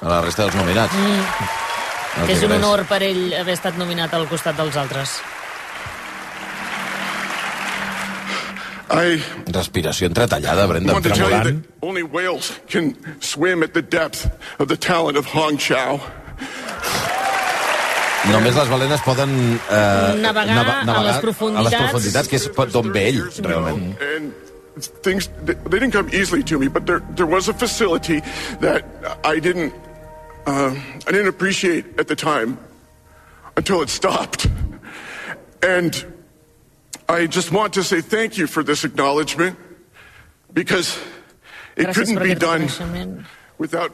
[SPEAKER 1] A la resta dels nominats.
[SPEAKER 12] Mm.
[SPEAKER 2] No que és un honor per ell haver estat nominat al costat dels altres.
[SPEAKER 12] I
[SPEAKER 1] Respiració entretallada, Brendan.
[SPEAKER 12] want to tell you
[SPEAKER 1] Tremolant.
[SPEAKER 12] that only whales can swim at the depth of the talent of Hong Chao.
[SPEAKER 1] Només les balenes poden eh,
[SPEAKER 12] Navegar a les
[SPEAKER 1] a les
[SPEAKER 12] profunditats.
[SPEAKER 1] profunditats, que és per- d'on ve ell, realment.
[SPEAKER 12] And things, they they didn't come easily to me, but there, there was a facility that I didn't, uh, I didn't appreciate at the time until it stopped. And I just want to say thank you for this acknowledgement because it
[SPEAKER 2] Gràcies
[SPEAKER 12] couldn't
[SPEAKER 2] per
[SPEAKER 12] be
[SPEAKER 2] aquest
[SPEAKER 12] done
[SPEAKER 2] reconeixement.
[SPEAKER 12] without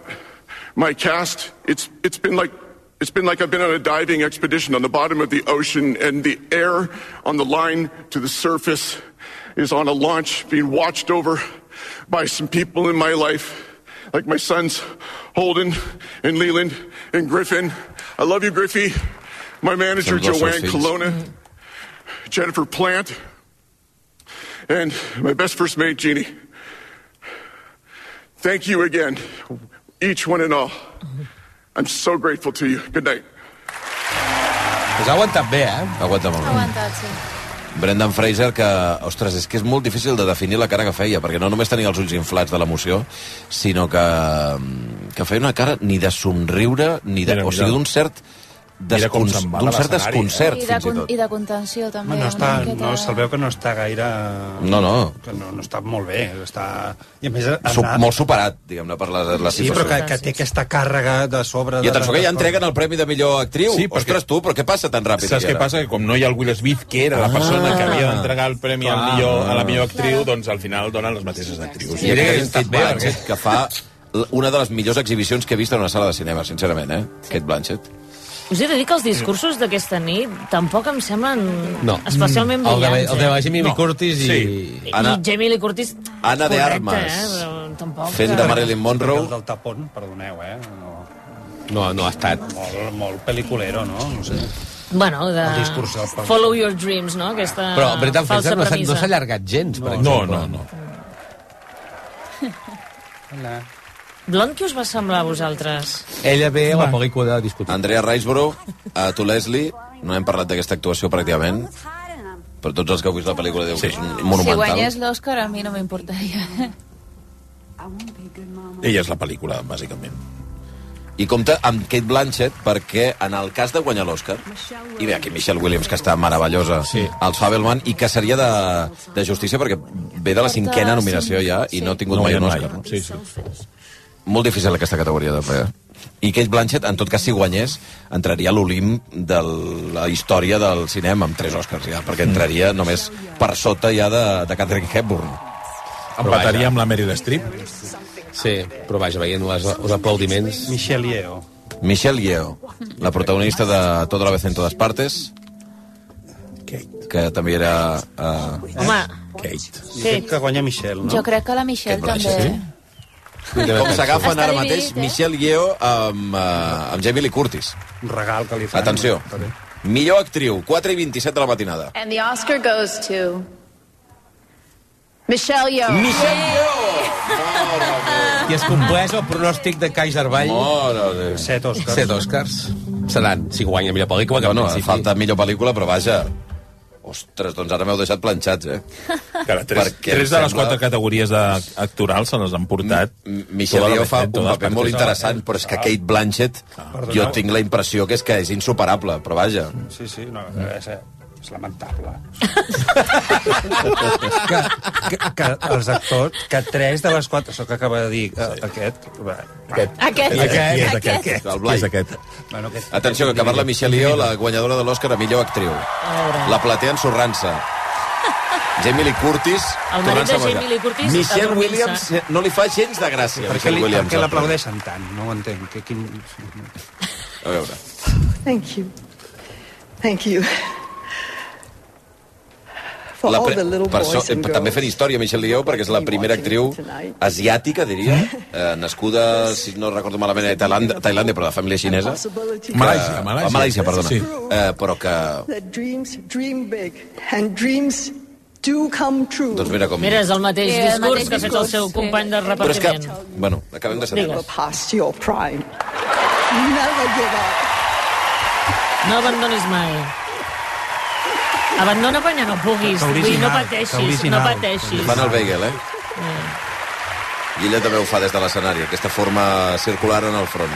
[SPEAKER 12] my cast. It's it's been like it's been like I've been on a diving expedition on the bottom of the ocean, and the air on the line to the surface is on a launch being watched over by some people in my life like my sons, Holden and Leland and Griffin. I love you, Griffey. My manager,
[SPEAKER 13] Sounds like
[SPEAKER 12] Joanne
[SPEAKER 13] sausage.
[SPEAKER 12] Colonna, Jennifer Plant, and my best first mate, Jeannie. Thank you again, each one and all. I'm so grateful to you. Good night.
[SPEAKER 4] Us ha aguantat bé, eh?
[SPEAKER 1] Aguanta molt.
[SPEAKER 6] Aguantat, sí.
[SPEAKER 1] Brendan Fraser, que, ostres, és que és molt difícil de definir la cara que feia, perquè no només tenia els ulls inflats de l'emoció, sinó que, mm, que feia una cara ni de somriure, ni de...
[SPEAKER 14] Mira,
[SPEAKER 1] o sigui,
[SPEAKER 14] mira.
[SPEAKER 1] d'un cert,
[SPEAKER 14] Mira com
[SPEAKER 1] descon,
[SPEAKER 14] se'n va de
[SPEAKER 1] d'un cert
[SPEAKER 14] l'escenari, eh?
[SPEAKER 1] desconcert,
[SPEAKER 6] I de,
[SPEAKER 1] fins i
[SPEAKER 6] con-
[SPEAKER 1] tot.
[SPEAKER 6] I de contenció, també.
[SPEAKER 3] Home, no,
[SPEAKER 6] una
[SPEAKER 3] està,
[SPEAKER 6] miqueta.
[SPEAKER 3] no se'l veu que no està gaire...
[SPEAKER 1] No, no.
[SPEAKER 3] Que no, no està molt bé. Està... I a més... ha
[SPEAKER 1] Sup,
[SPEAKER 3] anat-
[SPEAKER 1] molt superat, diguem-ne, per la, la
[SPEAKER 3] Sí,
[SPEAKER 1] situació.
[SPEAKER 3] però que, que té aquesta càrrega de sobre...
[SPEAKER 1] I
[SPEAKER 3] de-
[SPEAKER 1] atenció que ja entreguen el Premi de Millor Actriu.
[SPEAKER 5] Sí,
[SPEAKER 1] Sí,
[SPEAKER 5] perquè-
[SPEAKER 1] Ostres, tu, però què passa tan ràpid?
[SPEAKER 5] Saps
[SPEAKER 1] aquí
[SPEAKER 5] què
[SPEAKER 1] ara?
[SPEAKER 5] passa? Que com no hi ha el Will Smith, que era la persona que havia d'entregar el premi al
[SPEAKER 1] Clar.
[SPEAKER 5] millor, a la millor actriu, doncs al final donen les mateixes actrius.
[SPEAKER 1] Ah. Sí, que és Kate Blanchett, que fa l- una de les millors exhibicions que he vist en una sala de cinema, sincerament, eh? Kate Blanchett.
[SPEAKER 2] Us he de dir que els discursos d'aquesta nit tampoc em semblen
[SPEAKER 1] No. Mm,
[SPEAKER 2] especialment
[SPEAKER 1] El de-
[SPEAKER 2] brillants.
[SPEAKER 1] el de la
[SPEAKER 2] eh?
[SPEAKER 1] Jamie Lee No. Curtis i- Sí.
[SPEAKER 2] I
[SPEAKER 1] Anna-
[SPEAKER 2] Jamie Lee Curtis...
[SPEAKER 1] Anna de
[SPEAKER 2] correcte,
[SPEAKER 1] Armas.
[SPEAKER 2] Eh? Però tampoc...
[SPEAKER 1] Fent de Marilyn Monroe.
[SPEAKER 3] El del tapón, perdoneu, eh? No,
[SPEAKER 4] No, no ha estat.
[SPEAKER 3] molt, molt peliculero, no? No sé.
[SPEAKER 2] Bueno, de...
[SPEAKER 4] El discurs del Papa.
[SPEAKER 2] Follow your dreams, no? Aquesta
[SPEAKER 4] Però Brendan
[SPEAKER 2] falsa
[SPEAKER 4] Fraser no s'ha
[SPEAKER 2] premissa.
[SPEAKER 4] no s'ha allargat gens, per
[SPEAKER 5] No,
[SPEAKER 4] exemple.
[SPEAKER 5] no,
[SPEAKER 3] Hola.
[SPEAKER 2] Blond, què us va semblar a vosaltres?
[SPEAKER 1] Ella ve
[SPEAKER 4] a la
[SPEAKER 1] pel·lícula de discutir. Andrea Riceborough, a tu Leslie, no hem parlat d'aquesta actuació pràcticament, però tots els que heu vist la pel·lícula diu sí. que és un-
[SPEAKER 6] Si
[SPEAKER 1] monumental.
[SPEAKER 6] guanyés l'Oscar, a mi no
[SPEAKER 1] Eh?
[SPEAKER 6] m'importaria.
[SPEAKER 1] Ella és la pel·lícula, bàsicament. I compta amb Kate Blanchett perquè, en el cas de guanyar l'Oscar, i bé, aquí Michelle Williams, que està meravellosa, sí. als Fabelman, i que seria de, de justícia perquè ve de la cinquena nominació ja i no ha tingut
[SPEAKER 5] No
[SPEAKER 1] mai un
[SPEAKER 5] guanya
[SPEAKER 1] Oscar.
[SPEAKER 5] mai.
[SPEAKER 1] No? Sí, sí. Molt difícil aquesta categoria de fer. I Kate Blanchett, en tot cas, si guanyés, entraria a l'Olimp de la història del cinema, amb tres Oscars ja, perquè entraria només per sota ja de, de Catherine Hepburn.
[SPEAKER 4] Empataria
[SPEAKER 5] amb la Meryl Streep.
[SPEAKER 4] Sí, però vaja, veient les, els aplaudiments...
[SPEAKER 3] Michelle Yeoh.
[SPEAKER 1] Michelle Yeoh, la protagonista de Toda la vez en todas partes, que també era... Uh,
[SPEAKER 6] Home,
[SPEAKER 1] Kate.
[SPEAKER 3] Jo crec que guanya Michelle, no?
[SPEAKER 6] jo crec que la Michelle
[SPEAKER 1] Aquest
[SPEAKER 6] també...
[SPEAKER 1] Blanchett, Com s'agafen
[SPEAKER 6] Està
[SPEAKER 1] ara
[SPEAKER 6] dividit,
[SPEAKER 1] mateix
[SPEAKER 6] eh?
[SPEAKER 1] Michelle Yeoh amb, uh, amb Jamie Lee Curtis.
[SPEAKER 3] Un regal que li
[SPEAKER 1] fan. Atenció.
[SPEAKER 5] eh?
[SPEAKER 1] Millor actriu, 4 i 27 de la matinada.
[SPEAKER 11] And the Oscar goes to Michelle Yeoh.
[SPEAKER 1] Michelle
[SPEAKER 4] I es compleix el pronòstic de Kaiser Vall.
[SPEAKER 1] Mora
[SPEAKER 3] Set Oscars.
[SPEAKER 4] Set Oscars. Seran, si guanya millor pel·lícula, que
[SPEAKER 1] Bueno,
[SPEAKER 4] en principi...
[SPEAKER 1] falta millor pel·lícula, però vaja... Ostres, doncs ara m'heu deixat planxats, eh?
[SPEAKER 5] Cara, tres, tres de les quatre categories de- actorals se les han portat.
[SPEAKER 1] Michelle Yeoh fa un paper molt interessant, però és que Kate Blanchett, jo
[SPEAKER 5] Ah.
[SPEAKER 3] Perdoneu.
[SPEAKER 1] tinc la impressió que és que és insuperable, però vaja.
[SPEAKER 3] Sí, sí, no, eh, és, és lamentable. que, que, que els actors, que tres de les quatre, això que acaba de dir sí. aquest... Va, aquest.
[SPEAKER 5] Aquest.
[SPEAKER 3] Aquest.
[SPEAKER 5] Aquest. Aquest.
[SPEAKER 1] El Blai.
[SPEAKER 5] És aquest.
[SPEAKER 3] Bueno, aquest
[SPEAKER 1] Atenció, que acabar la Michelle Yeoh, la guanyadora de l'Oscar a millor actriu. La platea ensorrant-se. Jamie Lee Curtis...
[SPEAKER 2] El marit
[SPEAKER 1] tornant-se
[SPEAKER 2] de
[SPEAKER 1] a menjar.
[SPEAKER 2] Jamie Lee Curtis
[SPEAKER 1] Michelle
[SPEAKER 2] adormint-se.
[SPEAKER 1] Williams eh, no li fa gens de gràcia.
[SPEAKER 3] Per què,
[SPEAKER 1] Michelle
[SPEAKER 3] li, per
[SPEAKER 1] Williams,
[SPEAKER 3] què l'aplaudeixen tant? No ho entenc. Que, quin...
[SPEAKER 1] A veure.
[SPEAKER 15] Thank you. Thank you. For
[SPEAKER 1] La
[SPEAKER 15] all
[SPEAKER 1] pre...
[SPEAKER 15] the little
[SPEAKER 1] per
[SPEAKER 15] boys
[SPEAKER 1] so...
[SPEAKER 15] and
[SPEAKER 1] eh, També
[SPEAKER 15] girls.
[SPEAKER 1] fent història, Michelle Yeoh, perquè és la primera actriu asiàtica, diria, eh, nascuda, si no recordo malament, a Tailàndia, Tailàndia però de família xinesa. Que-
[SPEAKER 5] Malàisia, Malàisia.
[SPEAKER 1] A Malàisia, perdona.
[SPEAKER 5] Sí.
[SPEAKER 1] Eh, però que...
[SPEAKER 15] That dreams dream big and dreams do come true.
[SPEAKER 1] Doncs mira com...
[SPEAKER 2] Mira, és el mateix
[SPEAKER 15] Sí, el
[SPEAKER 2] discurs
[SPEAKER 15] mateix
[SPEAKER 2] que ha fet el
[SPEAKER 15] discurs,
[SPEAKER 2] seu
[SPEAKER 15] sí.
[SPEAKER 2] company de
[SPEAKER 1] Però és que...
[SPEAKER 2] repartiment.
[SPEAKER 1] Bueno, acabem de sentir.
[SPEAKER 15] Never past your prime. Never give up.
[SPEAKER 2] No abandonis mai. Abandona quan ja no puguis.
[SPEAKER 1] Que
[SPEAKER 2] Vull dir,
[SPEAKER 1] original,
[SPEAKER 2] no
[SPEAKER 1] que
[SPEAKER 2] pateixis, no
[SPEAKER 1] original.
[SPEAKER 2] pateixis.
[SPEAKER 1] Fan el bagel, eh? I ella també ho fa des de l'escenari, aquesta forma circular en el front.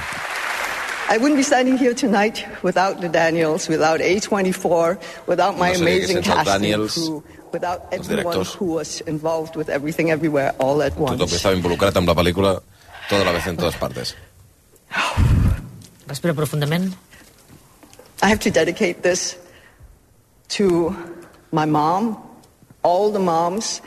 [SPEAKER 15] I wouldn't be standing here tonight without the Daniels, without A24, without my
[SPEAKER 1] No sé,
[SPEAKER 15] amazing
[SPEAKER 1] que sense el
[SPEAKER 15] casting
[SPEAKER 1] Daniels,
[SPEAKER 15] crew, without everyone
[SPEAKER 1] directors.
[SPEAKER 15] who was involved with everything everywhere all at once.
[SPEAKER 1] Tothom que estava involucrat amb la pel·lícula tota la vez en totes partes.
[SPEAKER 2] Respira profundament.
[SPEAKER 15] I have to dedicate this to my mom, all the moms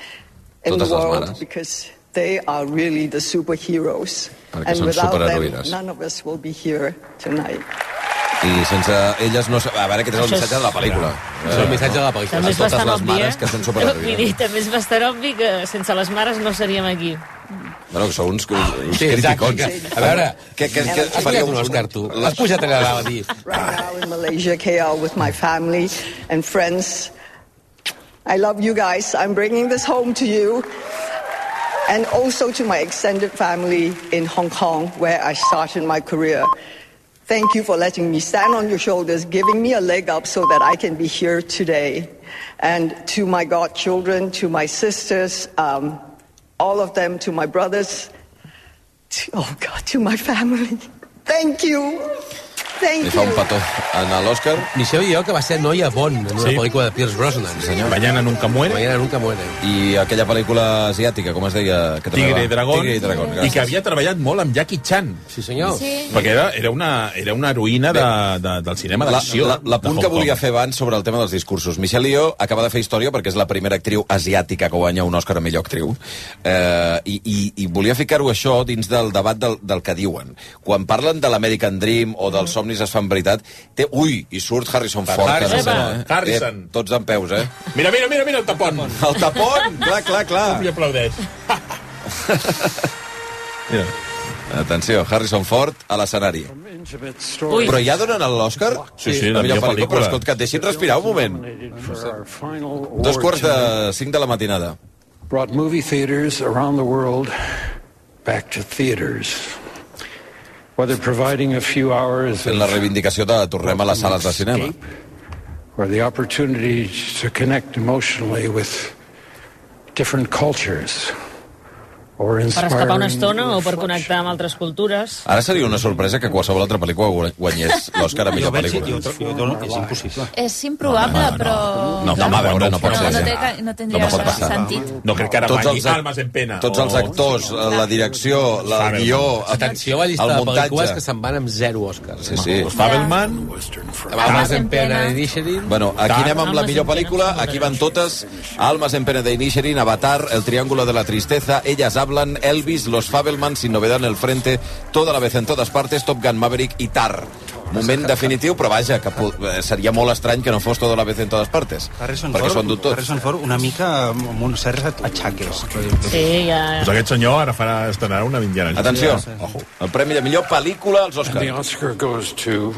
[SPEAKER 15] in
[SPEAKER 1] Totes
[SPEAKER 15] the
[SPEAKER 1] les
[SPEAKER 15] world,
[SPEAKER 1] mares.
[SPEAKER 15] because they are really the superheroes.
[SPEAKER 1] Perquè
[SPEAKER 15] And
[SPEAKER 1] són
[SPEAKER 15] without them,
[SPEAKER 1] superheroïnes.
[SPEAKER 15] none of us will be here tonight.
[SPEAKER 1] I sense elles no... sap- A veure, aquest és el
[SPEAKER 2] Això és-
[SPEAKER 1] missatge de la pel·lícula.
[SPEAKER 4] És el missatge de la pel·lícula.
[SPEAKER 1] A totes les mares que són
[SPEAKER 2] eh? Vull dir,
[SPEAKER 1] superheroïnes.
[SPEAKER 2] també és bastant obvi que sense les mares no seríem aquí.
[SPEAKER 1] Bueno, que sou uns, uns
[SPEAKER 4] Sí, exacte.
[SPEAKER 1] criticons.
[SPEAKER 4] A veure,
[SPEAKER 1] Què, què, què
[SPEAKER 4] has guanyat un Òscar, tu. Has pujat allà dalt a dir...
[SPEAKER 15] now in Malaysia, KL, with my family and friends. I love you guys. I'm bringing this home to you and also to my extended family in Hong Kong, where I started my career. Thank you for letting me stand on your shoulders, giving me a leg up so that I can be here today. And to my godchildren, to my sisters, um, all of them, to my brothers, to, oh God, to my family. Thank you. Thank
[SPEAKER 1] Li fa un
[SPEAKER 15] you.
[SPEAKER 1] petó a l'Òscar.
[SPEAKER 4] Michelle Yeoh, que va ser noia Bond en una
[SPEAKER 1] Sí.
[SPEAKER 4] pel·lícula de Pierce Brosnan. Sí, senyor.
[SPEAKER 1] Mañana nunca muere.
[SPEAKER 4] Mañana nunca muere.
[SPEAKER 1] I aquella pel·lícula asiàtica, com es deia? Que també
[SPEAKER 5] Tigre
[SPEAKER 1] va-
[SPEAKER 5] i Dragón,
[SPEAKER 1] Tigre i Dragón,
[SPEAKER 5] i
[SPEAKER 1] gràcies.
[SPEAKER 5] que havia treballat molt amb Jackie Chan.
[SPEAKER 4] Sí, senyor.
[SPEAKER 6] Sí.
[SPEAKER 5] Perquè era, era, una, era una heroïna de, de, del cinema
[SPEAKER 1] La,
[SPEAKER 5] d'acció.
[SPEAKER 1] la, la punt
[SPEAKER 5] de
[SPEAKER 1] que
[SPEAKER 5] Hong Kong.
[SPEAKER 1] volia fer abans sobre el tema dels discursos. Michelle Yeoh acaba de fer història perquè és la primera actriu asiàtica que guanya un Òscar a millor actriu. Eh, i, i, I volia ficar-ho això dins del debat del, del que diuen. Quan parlen de l'American Dream o dels somnis es fan veritat, té... Ui, i surt Harrison Ford. que
[SPEAKER 5] Harrison,
[SPEAKER 1] no sé, eh?
[SPEAKER 5] Harrison.
[SPEAKER 1] Eh, tots en peus, eh?
[SPEAKER 5] Mira, mira, mira, mira el tapon.
[SPEAKER 1] El tapon, clar, clar, clar.
[SPEAKER 5] I aplaudeix. Mira.
[SPEAKER 1] Atenció, Harrison Ford a l'escenari.
[SPEAKER 13] Ui.
[SPEAKER 1] Però ja donen l'Òscar?
[SPEAKER 5] Sí, sí,
[SPEAKER 1] la
[SPEAKER 5] la
[SPEAKER 1] millor
[SPEAKER 5] millor
[SPEAKER 1] pel·lícula. Però
[SPEAKER 5] pel·lícula.
[SPEAKER 1] escolta, que et deixin respirar un moment. Dos quarts de cinc de la matinada.
[SPEAKER 13] Brought movie theaters around the world back to theaters. Whether providing a few hours
[SPEAKER 1] Fent la reivindicació de tornem a les sales de cinema.
[SPEAKER 13] or the opportunity to connect emotionally with different cultures or
[SPEAKER 2] Per escapar una
[SPEAKER 13] inspiring
[SPEAKER 2] estona o per connectar amb altres cultures.
[SPEAKER 1] Ara seria una sorpresa que qualsevol altra pel·lícula guany- guanyés l'Òscar a
[SPEAKER 3] Jo
[SPEAKER 1] millor
[SPEAKER 3] veig-
[SPEAKER 1] pel·lícula.
[SPEAKER 3] jo- jo dono que és impossible.
[SPEAKER 6] És improbable, però...
[SPEAKER 1] No, home, a veure, no pot
[SPEAKER 6] no,
[SPEAKER 1] ser.
[SPEAKER 6] no,
[SPEAKER 1] sí.
[SPEAKER 6] té, ca- no tindria
[SPEAKER 1] pot passar.
[SPEAKER 6] sentit.
[SPEAKER 5] No crec que ara
[SPEAKER 1] Tots
[SPEAKER 5] guanyi
[SPEAKER 1] els act-
[SPEAKER 5] Almas en pena,
[SPEAKER 1] Tots
[SPEAKER 5] o-
[SPEAKER 4] Oh.
[SPEAKER 1] els actors, eh, la direcció, la, el guió,
[SPEAKER 4] Atenció a la llista
[SPEAKER 1] el
[SPEAKER 4] de pel·lícules
[SPEAKER 1] muntatge...
[SPEAKER 4] que se'n van amb zero Oscars.
[SPEAKER 1] Sí, sí.
[SPEAKER 4] Els Fabelman, Almas en pena, Initiating...
[SPEAKER 1] Bueno, aquí anem amb la
[SPEAKER 4] Almas
[SPEAKER 1] millor pel·lícula, aquí van totes, Almas en pena de Inisherin, Avatar, El triángulo de la tristeza, Ellas hablan, Elvis, Los Fabelman, Sin novedad en el frente, Toda la vez en todas partes, Top Gun Maverick i Tar. Moment definitiu, però vaja, que po- eh, seria molt estrany que no fos Toda la vez en todas partes.
[SPEAKER 3] Harrison
[SPEAKER 1] perquè
[SPEAKER 3] Ford,
[SPEAKER 1] són d'un tot.
[SPEAKER 3] Harrison Ford una mica amb uns certs aixaques.
[SPEAKER 2] Sí, ja...
[SPEAKER 5] Doncs aquest senyor ara farà estrenar una vindiana.
[SPEAKER 1] Atenció, el premi de millor pel·lícula als
[SPEAKER 13] And the
[SPEAKER 1] Oscars.
[SPEAKER 13] Oscar goes to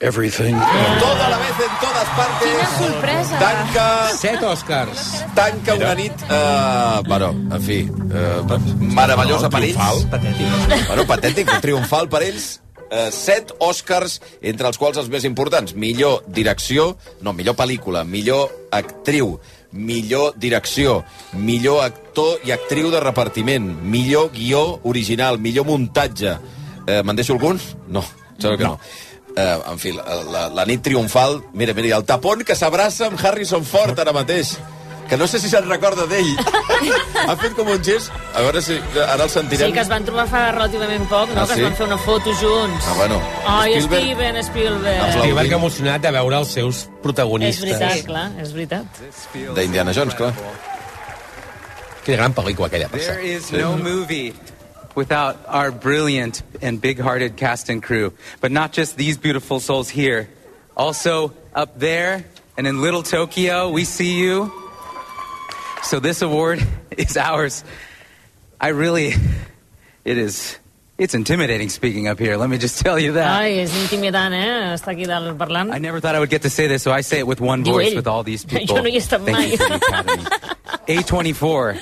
[SPEAKER 13] everything.
[SPEAKER 1] Toda la vez en todas partes.
[SPEAKER 6] Quina sorpresa.
[SPEAKER 1] Tanca...
[SPEAKER 4] Set Oscars.
[SPEAKER 1] Tanca una nit... Eh, bueno, en fi, eh, meravellosa
[SPEAKER 5] No,
[SPEAKER 1] per ells.
[SPEAKER 5] triomfal.
[SPEAKER 1] Patètic. Bueno, patètic, triomfal per ells. Eh, set Oscars, entre els quals els més importants. Millor direcció, no, millor pel·lícula, millor actriu, millor direcció, millor actor i actriu de repartiment, millor guió original, millor muntatge. Eh, Me'n deixo algun? No, sembla que no. Eh, en fi, la, la, la nit triomfal... Mira, mira, i el tapón que s'abraça amb Harrison Ford ara mateix que no sé si se'n recorda d'ell. ha fet com un gest... A veure si ara el sentirem.
[SPEAKER 2] Sí, que es van trobar fa relativament poc,
[SPEAKER 1] Ah,
[SPEAKER 2] no? que
[SPEAKER 1] sí?
[SPEAKER 2] es van fer una foto junts.
[SPEAKER 1] Ah, bueno.
[SPEAKER 2] Ai,
[SPEAKER 1] Spielberg-
[SPEAKER 2] Steven Spielberg.
[SPEAKER 4] Spielberg emocionat de veure els seus
[SPEAKER 2] És
[SPEAKER 4] protagonistes.
[SPEAKER 2] veritat, clar, és veritat.
[SPEAKER 1] D'Indiana Jones, clar.
[SPEAKER 4] Quina gran pel·lícula aquella, per
[SPEAKER 14] There
[SPEAKER 4] cert.
[SPEAKER 14] is no movie without our brilliant and big hearted cast and crew. But not just these beautiful souls here, also up there and in Little Tokyo, we see you. So this award is ours. I really, it is, it's intimidating speaking up here, let me just tell you that.
[SPEAKER 2] Ai, és intimidant, eh? Estar aquí dalt parlant.
[SPEAKER 14] I never thought I would get to say this, so I say it with one
[SPEAKER 2] Diu
[SPEAKER 14] voice
[SPEAKER 2] ell.
[SPEAKER 14] with all these people.
[SPEAKER 2] Jo no hi he estat
[SPEAKER 14] Thank you
[SPEAKER 2] mai.
[SPEAKER 14] to the Academy. A24,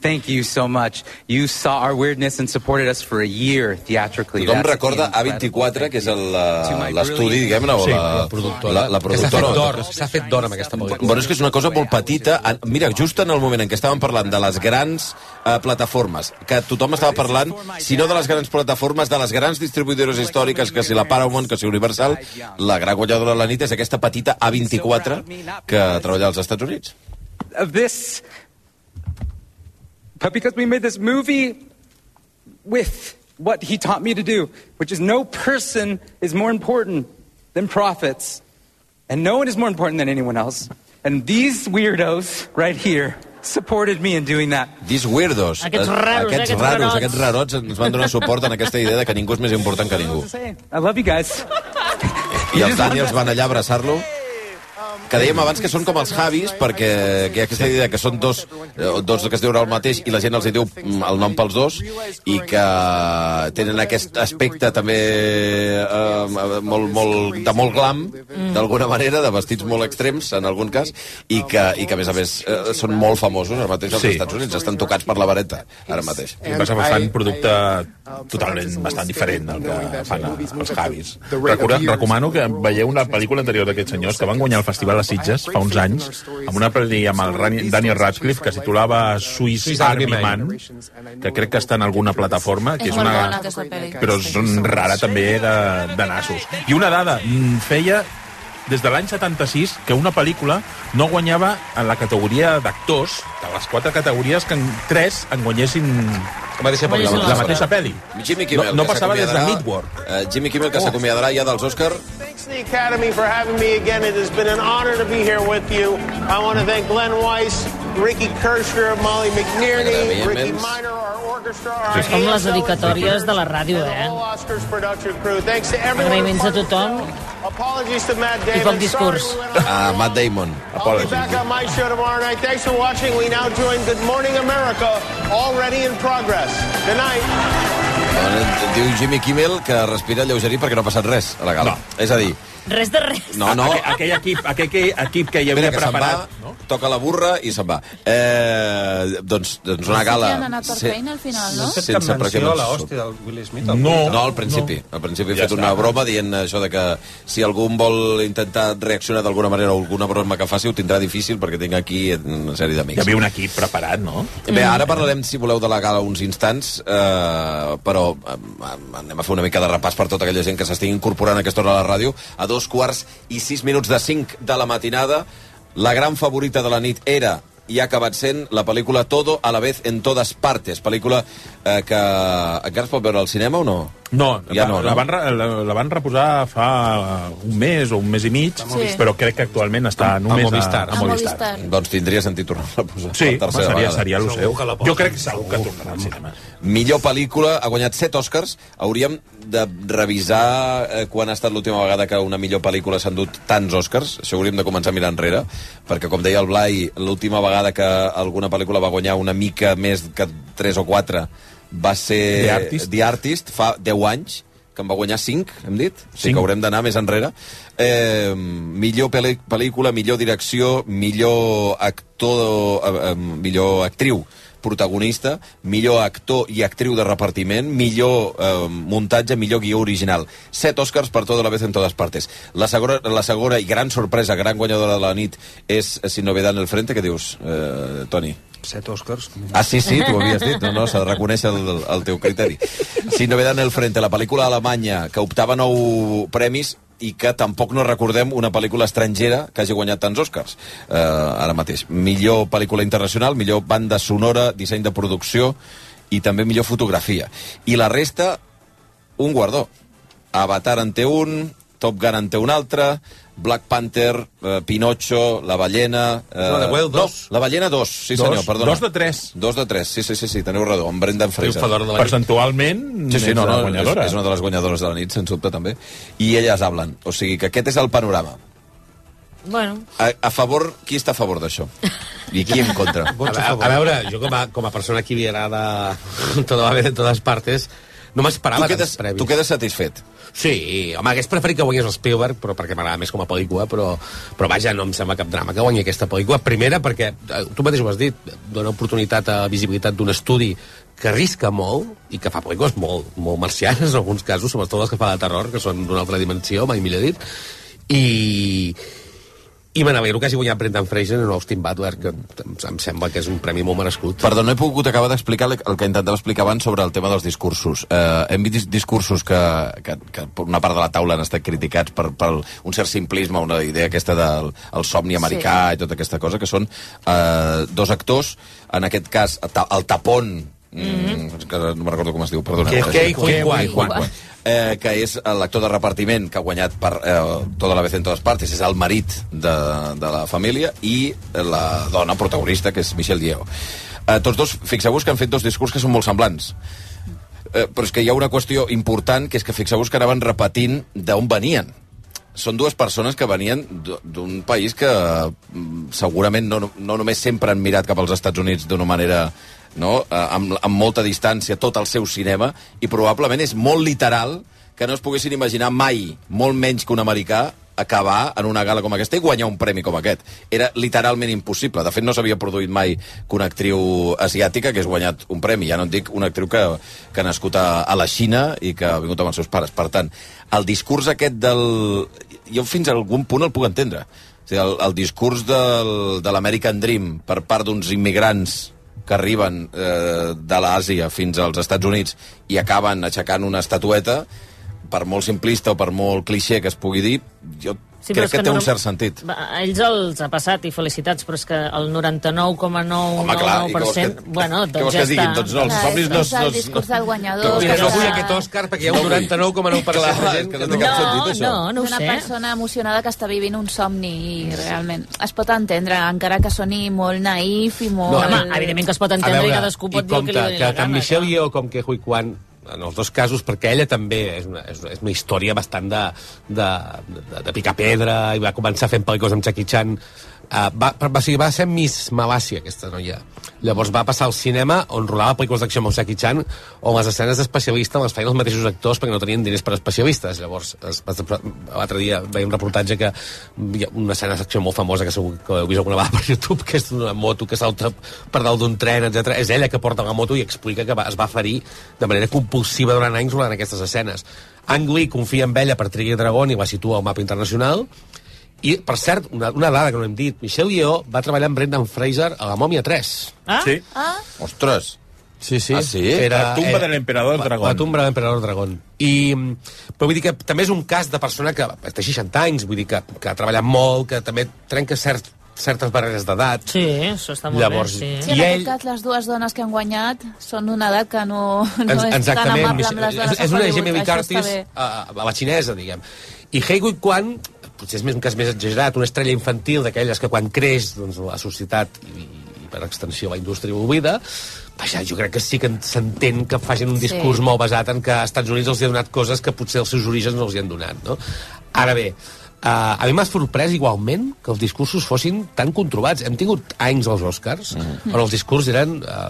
[SPEAKER 14] thank you so much. You saw our weirdness and supported us for a year theatrically.
[SPEAKER 1] Tothom
[SPEAKER 14] That's
[SPEAKER 1] recorda
[SPEAKER 14] incredible.
[SPEAKER 1] A24, que és el, eh, l'estudi, diguem-ne, o
[SPEAKER 4] Sí,
[SPEAKER 1] la,
[SPEAKER 4] la productora.
[SPEAKER 1] La, la
[SPEAKER 4] Que s'ha fet d'or,
[SPEAKER 1] productora.
[SPEAKER 4] s'ha fet d'or amb aquesta pel·lícula.
[SPEAKER 1] Bueno, és que és una cosa molt petita. En- Mira, just en el moment en què estàvem parlant de les grans eh, plataformes, que tothom estava parlant, si no de les grans plataformes, de les grans distribuïdores històriques, que si la Paramount, que si Universal, la gran guanyadora de la nit és aquesta petita A24 que treballa als Estats Units.
[SPEAKER 14] Of this, but because we made this movie with what he taught me to do, which is no person is more important than prophets, and no one is more important than anyone else. And these weirdos right here supported me in doing that.
[SPEAKER 1] These weirdos,
[SPEAKER 14] Aquests raros,
[SPEAKER 1] eh,
[SPEAKER 14] eh,
[SPEAKER 1] aquests,
[SPEAKER 14] aquests
[SPEAKER 1] raros,
[SPEAKER 14] rarots.
[SPEAKER 1] aquests rarots ens van donar suport en aquesta idea de que ningú és més important que ningú.
[SPEAKER 14] I love you guys.
[SPEAKER 1] I els Daniels van allà a abraçar-lo. Que dèiem abans que són com els Javis, perquè que hi ha aquesta idea que són dos, eh, dos que es diuen el mateix i la gent els hi diu mm, el nom pels dos i que tenen aquest aspecte també eh, molt, molt, de molt glam, d'alguna manera, de vestits molt extrems, en algun cas, i que, i que a més a més eh, són molt famosos ara mateix als
[SPEAKER 16] Sí.
[SPEAKER 1] Estats Units, estan tocats per la vareta, ara mateix.
[SPEAKER 16] I vas a un producte totalment bastant diferent del que fan a- els Javis.
[SPEAKER 5] Recura, recomano que veieu una pel·lícula anterior d'aquests senyors que van guanyar el Festival de Sitges fa uns anys amb una pel·li amb el Rani- Daniel Radcliffe que es titulava Swiss Army Man que crec que està en alguna plataforma que
[SPEAKER 6] És
[SPEAKER 5] és
[SPEAKER 6] molt
[SPEAKER 5] una...
[SPEAKER 2] Ah.
[SPEAKER 6] bona aquesta pel·li.
[SPEAKER 5] però és un rara també de, de nassos i una dada, mm, feia des de l'any 76 que una pel·lícula no guanyava en la categoria d'actors de les quatre categories que en tres en guanyessin la mateixa
[SPEAKER 1] pel·li.
[SPEAKER 5] la mateixa pel·li
[SPEAKER 1] Jimmy Kimmel,
[SPEAKER 5] no, no
[SPEAKER 1] que
[SPEAKER 5] passava des de
[SPEAKER 1] s'acomiadarà-
[SPEAKER 5] Midward
[SPEAKER 1] eh, Jimmy Kimmel, que s'acomiadarà ja dels Oscar.
[SPEAKER 10] Thanks to the Academy for having me again. It has been an honor to be here with you. I want to thank Glenn Weiss, Ricky Kirschner, Molly McNerney, Ricky Minor, our orchestra, our
[SPEAKER 2] És com les
[SPEAKER 10] ASL
[SPEAKER 2] dedicatòries de la ràdio,
[SPEAKER 10] and the
[SPEAKER 2] eh?
[SPEAKER 10] whole Oscars production crew. Thanks to everyone.
[SPEAKER 2] Agraïments a tothom
[SPEAKER 10] Apologies to Matt
[SPEAKER 2] i poc
[SPEAKER 10] Damon. Sorry,
[SPEAKER 2] discurs.
[SPEAKER 1] A Matt Damon.
[SPEAKER 10] I'll be back on my show tomorrow night. Thanks for watching. We now join Good Morning America, already in progress. Good night.
[SPEAKER 1] Bueno, eh, Diu Jimmy Kimmel que respira lleugerí perquè no ha passat res a la gala. No. És a dir,
[SPEAKER 2] Res de res.
[SPEAKER 1] no, no...
[SPEAKER 16] Aqu- aquell
[SPEAKER 1] equip, aquell, aquell equip que hi
[SPEAKER 16] havia
[SPEAKER 1] que se'n
[SPEAKER 16] preparat,
[SPEAKER 1] Va, Toca la burra i se'n va. Eh, doncs, doncs una gala...
[SPEAKER 6] Han anat per feina al final, no?
[SPEAKER 3] No has fet cap menció a l'hòstia del Will Smith? al Twitter?
[SPEAKER 1] no, al principi. No. Al principi he
[SPEAKER 3] Ja
[SPEAKER 1] fet una
[SPEAKER 3] està.
[SPEAKER 1] broma dient això de que si algú em vol intentar reaccionar d'alguna manera o alguna broma que faci ho tindrà difícil perquè tinc aquí una sèrie d'amics.
[SPEAKER 5] Hi havia un equip preparat, no?
[SPEAKER 1] Bé, ara parlarem, si voleu, de la gala uns instants, eh, però eh, anem a fer una mica de repàs per tota aquella gent que s'estigui incorporant a aquesta hora a la ràdio. A dos quarts i sis minuts de cinc de la matinada, la gran favorita de la nit era i ha acabat sent la pel·lícula Todo a la vez en todas partes, pel·lícula eh, que encara es pot veure al cinema o no?
[SPEAKER 5] No,
[SPEAKER 1] Ja
[SPEAKER 5] ja no,
[SPEAKER 1] no, no?
[SPEAKER 5] la, van, re- la, la van reposar fa un mes o un mes i mig,
[SPEAKER 1] Sí.
[SPEAKER 5] però crec que actualment està només
[SPEAKER 1] Movistar.
[SPEAKER 5] a, a Movistar.
[SPEAKER 1] Doncs tindria sentit tornar-la a posar
[SPEAKER 5] Sí,
[SPEAKER 1] per tercera
[SPEAKER 5] seria,
[SPEAKER 1] vegada.
[SPEAKER 5] seria el seu. Jo crec que segur que tornarà al cinema.
[SPEAKER 1] Millor pel·lícula, ha guanyat 7 Oscars. Hauríem de revisar eh, quan ha estat l'última vegada que una millor pel·lícula s'ha endut tants Oscars. Això hauríem de començar a mirar enrere, perquè, com deia el Blai, l'última vegada que alguna pel·lícula va guanyar una mica més que 3 o 4 va ser
[SPEAKER 5] The Artist.
[SPEAKER 1] The Artist fa 10 anys, que en va guanyar 5, hem dit? O sigui que haurem d'anar més enrere. Eh, millor pel·li- pel·lícula, millor direcció, millor actor, eh, eh, millor actriu protagonista, millor actor i actriu de repartiment, millor eh, muntatge, millor guió original. Set Oscars per tota la vez en totes partes. La segona, la segona i gran sorpresa, gran guanyadora de la nit, és eh, Sin novedad en el frente, que dius, eh, Toni?
[SPEAKER 3] Set Oscars.
[SPEAKER 1] Ah, sí, sí, tu ho havies dit. No, no, s'ha de reconèixer el, el teu criteri. Sin novedad en el frente, la pel·lícula alemanya que optava a nou premis i que tampoc no recordem una pel·lícula estrangera que hagi guanyat tants Oscars eh, ara mateix. Millor pel·lícula internacional, millor banda sonora, disseny de producció i també millor fotografia. I la resta, un guardó. Avatar en té un, Top Gun en té un altre, Black Panther, eh, Pinocho, La ballena... Eh,
[SPEAKER 4] No, The Whale dos.
[SPEAKER 1] No, La ballena 2, sí
[SPEAKER 5] Dos.
[SPEAKER 1] senyor, perdona.
[SPEAKER 5] Dos de tres.
[SPEAKER 1] Dos de tres, sí, sí, sí, sí teniu raó, amb Brendan Fraser.
[SPEAKER 5] Triomfadora de la nit. Percentualment,
[SPEAKER 1] sí, sí,
[SPEAKER 5] és
[SPEAKER 1] no,
[SPEAKER 5] la
[SPEAKER 1] no, és,
[SPEAKER 5] guanyadora.
[SPEAKER 1] és una de les guanyadores de la nit, sens dubte, també. I elles hablen, o sigui que aquest és el panorama.
[SPEAKER 2] Bueno,
[SPEAKER 1] A, a favor, qui està a favor d'això? I qui en contra?
[SPEAKER 4] A, a, a veure, jo com a, com a persona tota que li agrada tot va bé de totes partes, no m'esperava
[SPEAKER 1] Tu quedes-
[SPEAKER 4] tants premis.
[SPEAKER 1] tu quedes satisfet?
[SPEAKER 4] Sí, home, hagués preferit que guanyés el Spielberg, però perquè m'agrada més com a pel·lícula, però, però vaja, no em sembla cap drama que guanyi aquesta pel·lícula. Primera, perquè eh, tu mateix ho has dit, dona oportunitat a visibilitat d'un estudi que arrisca molt i que fa pel·lícules molt, molt marcianes en alguns casos, sobretot les que fa de terror, que són d'una altra dimensió, mai millor dit. I, i me n'alegro que hagi guanyat Brendan Fraser en Austin Butler, que em, em sembla que és un premi molt merescut.
[SPEAKER 1] Perdó, no he pogut acabar d'explicar el el que intentava explicar abans sobre el tema dels discursos. Eh, hem vist dis- discursos que, que, que per una part de la taula han estat criticats per, per un cert simplisme, una idea aquesta del el somni americà sí. i tota aquesta cosa, que són eh, dos actors, en aquest cas ta- el tapón
[SPEAKER 3] Mm-hmm.
[SPEAKER 1] Mm -hmm. que no me'n recordo com es diu, perdona.
[SPEAKER 4] Que- que- que- que-
[SPEAKER 1] Juan. Eh, que és l'actor de repartiment que ha guanyat per eh, tota la vez en totes partes, és el marit de, de la família i la dona protagonista, que és Michelle Diego. Eh, tots dos, fixeu-vos que han fet dos discurs que són molt semblants. Eh, però és que hi ha una qüestió important, que és que fixeu-vos que anaven repetint d'on venien. Són dues persones que venien d- d'un país que mm, segurament no, no- no només sempre han mirat cap als Estats Units d'una manera no? eh, amb, amb molta distància tot el seu cinema i probablement és molt literal que no es poguessin imaginar mai, molt menys que un americà, acabar en una gala com aquesta i guanyar un premi com aquest. Era literalment impossible. De fet, no s'havia produït mai que una actriu asiàtica que hagués guanyat un premi. Ja no et dic una actriu que, que ha nascut a, a la Xina i que ha vingut amb els seus pares. Per tant, el discurs aquest del... Jo fins a algun punt el puc entendre. O sigui, el, el discurs del, de l'American Dream per part d'uns immigrants que arriben eh, de l'Àsia fins als Estats Units i acaben aixecant una estatueta, per molt simplista o per molt cliché que es pugui dir, jo
[SPEAKER 2] Sí,
[SPEAKER 1] sí,
[SPEAKER 2] però
[SPEAKER 1] crec
[SPEAKER 2] és
[SPEAKER 1] que,
[SPEAKER 2] que
[SPEAKER 1] que té
[SPEAKER 2] no-
[SPEAKER 1] un cert sentit.
[SPEAKER 2] Va, A ells els ha passat, i felicitats, però és que el
[SPEAKER 1] Home, clar, i què vols
[SPEAKER 2] 99,99%...
[SPEAKER 1] que-
[SPEAKER 2] Bueno,
[SPEAKER 1] què vols
[SPEAKER 2] doncs ja
[SPEAKER 1] que et
[SPEAKER 2] està.
[SPEAKER 1] diguin? Doncs no, els
[SPEAKER 6] Clar,
[SPEAKER 1] somnis
[SPEAKER 6] és,
[SPEAKER 1] no-
[SPEAKER 6] és el
[SPEAKER 1] no-
[SPEAKER 6] discurs del
[SPEAKER 1] no
[SPEAKER 6] guanyador.
[SPEAKER 1] vull.
[SPEAKER 6] que
[SPEAKER 1] No vull
[SPEAKER 6] està-
[SPEAKER 1] aquest
[SPEAKER 4] Òscar, perquè hi ha
[SPEAKER 1] No
[SPEAKER 4] un
[SPEAKER 1] vull.
[SPEAKER 4] 99,9% de gent
[SPEAKER 1] Clar, és que
[SPEAKER 4] que
[SPEAKER 1] no
[SPEAKER 4] no...
[SPEAKER 1] té cap sentit, això.
[SPEAKER 2] Ah, no, no ho
[SPEAKER 6] és una
[SPEAKER 2] sé.
[SPEAKER 6] persona emocionada que està vivint un somni i realment es pot entendre, encara que soni molt naïf i molt...
[SPEAKER 4] No, home,
[SPEAKER 2] evidentment que es pot entendre
[SPEAKER 4] A
[SPEAKER 2] i cadascú pot
[SPEAKER 4] i
[SPEAKER 2] dir el que li
[SPEAKER 4] compte,
[SPEAKER 2] doni la
[SPEAKER 4] tant
[SPEAKER 2] gana,
[SPEAKER 4] Michelle Yeoh com que Hui Kwan, en els dos casos, perquè ella també és una, és una, és una història bastant de, de, de, de picar pedra i va començar fent pel·lícules amb Jackie Chan. Uh, va, va, sí, va ser Miss Malàcia, aquesta noia. Llavors va passar al cinema on rodava pel·lícules d'acció amb el Jackie Chan on les escenes d'especialista les feien els mateixos actors perquè no tenien diners per especialistes. Llavors, es- es- l'altre dia veia un reportatge que hi ha una escena d'acció molt famosa que segur que heu vist alguna vegada per YouTube, que és una moto que salta per dalt d'un tren, etc. És ella que porta la moto i explica que va, es va ferir de manera compulsiva durant anys durant aquestes escenes. Ang Lee confia en ella per Trigger Dragon i la situa al mapa internacional i, per cert, una, una dada que no hem dit, Michelle Yeoh va treballar amb Brendan Fraser a la Mòmia 3.
[SPEAKER 2] Ah?
[SPEAKER 5] Sí.
[SPEAKER 6] Ah?
[SPEAKER 1] Ostres.
[SPEAKER 4] Sí, sí. eh,
[SPEAKER 1] Ah, sí?
[SPEAKER 5] La tumba de l'emperador dragón.
[SPEAKER 4] La tumba de l'emperador dragón. I, mm, però vull dir que també és un cas de persona que té 60 anys, vull dir que, que ha treballat molt, que també trenca cert, certes barreres d'edat.
[SPEAKER 2] Sí, això està molt
[SPEAKER 4] Llavors,
[SPEAKER 2] bé,
[SPEAKER 6] Sí,
[SPEAKER 4] I
[SPEAKER 6] en
[SPEAKER 4] ell,
[SPEAKER 6] aquest cas, les dues dones que han guanyat són d'una edat que no, no
[SPEAKER 4] Ens-
[SPEAKER 6] és tan
[SPEAKER 4] exactament,
[SPEAKER 6] amable amb
[SPEAKER 4] Michelle-
[SPEAKER 6] les
[SPEAKER 4] és,
[SPEAKER 6] dones.
[SPEAKER 4] és una
[SPEAKER 6] de Hollywood,
[SPEAKER 4] Jamie Lee
[SPEAKER 6] això està
[SPEAKER 4] Curtis
[SPEAKER 6] bé.
[SPEAKER 4] a, a la xinesa, diguem. I Heigui Kwan, potser és més un cas més exagerat, una estrella infantil d'aquelles que quan creix doncs, la societat i, i per extensió la indústria oblida, vaja, jo crec que sí que en- s'entén que facin un
[SPEAKER 16] Sí.
[SPEAKER 4] discurs sí. molt basat en que als Estats Units els hi ha donat coses que potser els seus orígens no els hi han donat, no? Ara bé, Uh, a mi m'ha sorprès igualment que els discursos fossin tan controlats. Hem tingut anys als Oscars mm. on els discurs eren uh,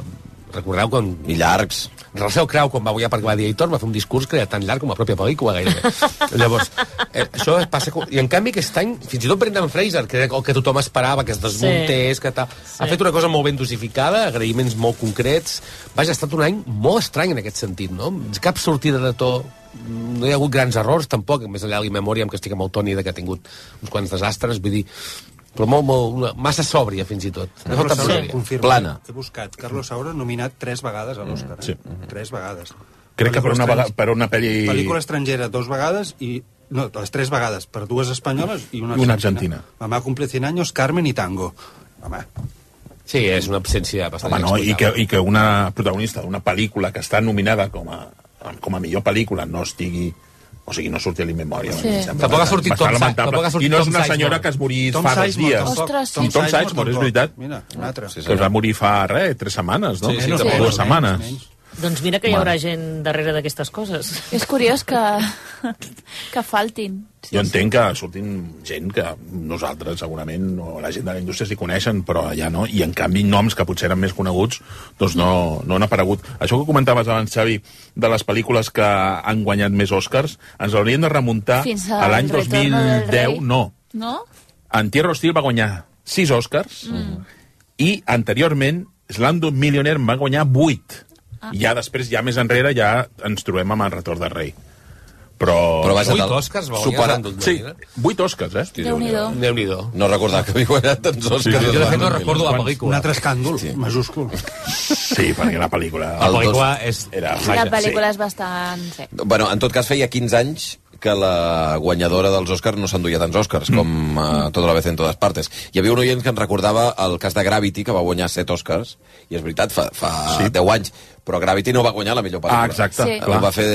[SPEAKER 4] recordeu quan...
[SPEAKER 1] I llargs.
[SPEAKER 4] Russell Crowe, quan va guanyar per Gladiator, va fer un discurs que era tan llarg com la pròpia pel·lícula, gairebé. Llavors, eh, això es passa... Com... I en canvi aquest any, fins i tot Brendan Fraser, que era el que tothom esperava, que es desmuntés, sí. que tal... Sí. Ha fet una cosa molt ben dosificada, agraïments molt concrets... Vaja, ha estat un any molt estrany en aquest sentit, no? Cap sortida de to, no hi ha hagut grans errors, tampoc, més enllà de l'Immemoriam, que estic amb el Toni, de que ha tingut uns quants desastres, vull dir... Però molt, molt, una, massa sòbria, fins i tot. No
[SPEAKER 3] Carlos
[SPEAKER 4] falta
[SPEAKER 3] Saura,
[SPEAKER 4] sòbria.
[SPEAKER 3] confirmo,
[SPEAKER 4] Plana.
[SPEAKER 3] He buscat. Carlos Saura nominat tres vegades a l'Òscar. Eh?
[SPEAKER 5] Sí.
[SPEAKER 3] Tres vegades.
[SPEAKER 5] Crec que per una, vega- per una pel·li...
[SPEAKER 3] Pel·lícula estrangera dos vegades i... No, les tres vegades, per dues espanyoles i una,
[SPEAKER 5] I una argentina.
[SPEAKER 3] Mamá cumple 100 años, Carmen i Tango. Home,
[SPEAKER 4] Sí, és una absència bastant
[SPEAKER 5] Home, no, i que, i que una protagonista d'una pel·lícula que està nominada com a, com a millor pel·lícula no estigui o sigui, no surti a l'Immemòria.
[SPEAKER 4] Sí. Tampoc ha sortit Tom Sa- tampoc ha sortit
[SPEAKER 5] I no és
[SPEAKER 4] Tom
[SPEAKER 5] una
[SPEAKER 4] Sizemore.
[SPEAKER 5] senyora que es morí
[SPEAKER 4] Tom
[SPEAKER 5] fa dos
[SPEAKER 4] Sizemore
[SPEAKER 5] dies.
[SPEAKER 4] tampoc. Ostres, sí.
[SPEAKER 5] I Tom Sizemore, és
[SPEAKER 4] tampoc.
[SPEAKER 5] veritat.
[SPEAKER 3] Mira, un altre.
[SPEAKER 5] que es va morir fa, res, tres setmanes, no?
[SPEAKER 4] Sí, sí,
[SPEAKER 5] Menys,
[SPEAKER 4] tampoc.
[SPEAKER 5] dues setmanes.
[SPEAKER 2] Doncs mira que hi haurà gent darrere d'aquestes coses.
[SPEAKER 6] És curiós que, que faltin.
[SPEAKER 5] Jo entenc que surtin gent que nosaltres segurament, o la gent de la indústria s'hi coneixen, però allà no, i en canvi noms que potser eren més coneguts, doncs no, no han aparegut. Això que comentaves abans, Xavi, de les pel·lícules que han guanyat més Oscars, ens hauríem de remuntar
[SPEAKER 6] Fins
[SPEAKER 5] a
[SPEAKER 6] al
[SPEAKER 5] l'any
[SPEAKER 6] Retorno del
[SPEAKER 5] 2010,
[SPEAKER 6] Rei.
[SPEAKER 5] no.
[SPEAKER 6] No?
[SPEAKER 5] En Tierra Hostil va guanyar 6 Oscars,
[SPEAKER 6] Mm.
[SPEAKER 5] i anteriorment Slumdog Millionaire en va guanyar 8. Ah. I ja després, ja més enrere, ja ens trobem amb el retorn del rei. Però...
[SPEAKER 1] Però vaja, Vuit tal- Oscars va guanyar supera- Slumdog
[SPEAKER 5] Sí,
[SPEAKER 1] Millionaire.
[SPEAKER 5] 8 Oscars, eh?
[SPEAKER 6] Déu-n'hi-do.
[SPEAKER 4] Déu-n'hi-do.
[SPEAKER 1] No recordar que havia guanyat tants Oscars.
[SPEAKER 5] Sí, sí, jo de fet no recordo la
[SPEAKER 3] Un
[SPEAKER 5] pel·lícula.
[SPEAKER 3] altre escàndol, sí. majúscul.
[SPEAKER 5] Sí, perquè la pel·lícula...
[SPEAKER 1] El dos-
[SPEAKER 4] és...
[SPEAKER 5] Era...
[SPEAKER 6] La pel·lícula és bastant... Sí.
[SPEAKER 1] Bueno, en tot cas, feia 15 anys que la guanyadora dels Oscars no s'enduia tants Oscars
[SPEAKER 4] Mm.
[SPEAKER 1] com uh, tota la vez en totes partes. Hi havia un oient que ens recordava el cas de Gravity, que va guanyar set Oscars, i és veritat, fa, fa sí. 10 anys, però Gravity no va guanyar la millor
[SPEAKER 4] Ah,
[SPEAKER 1] pel·lícula.
[SPEAKER 4] exacte, Sí.
[SPEAKER 1] Ho
[SPEAKER 4] clar.
[SPEAKER 1] va fer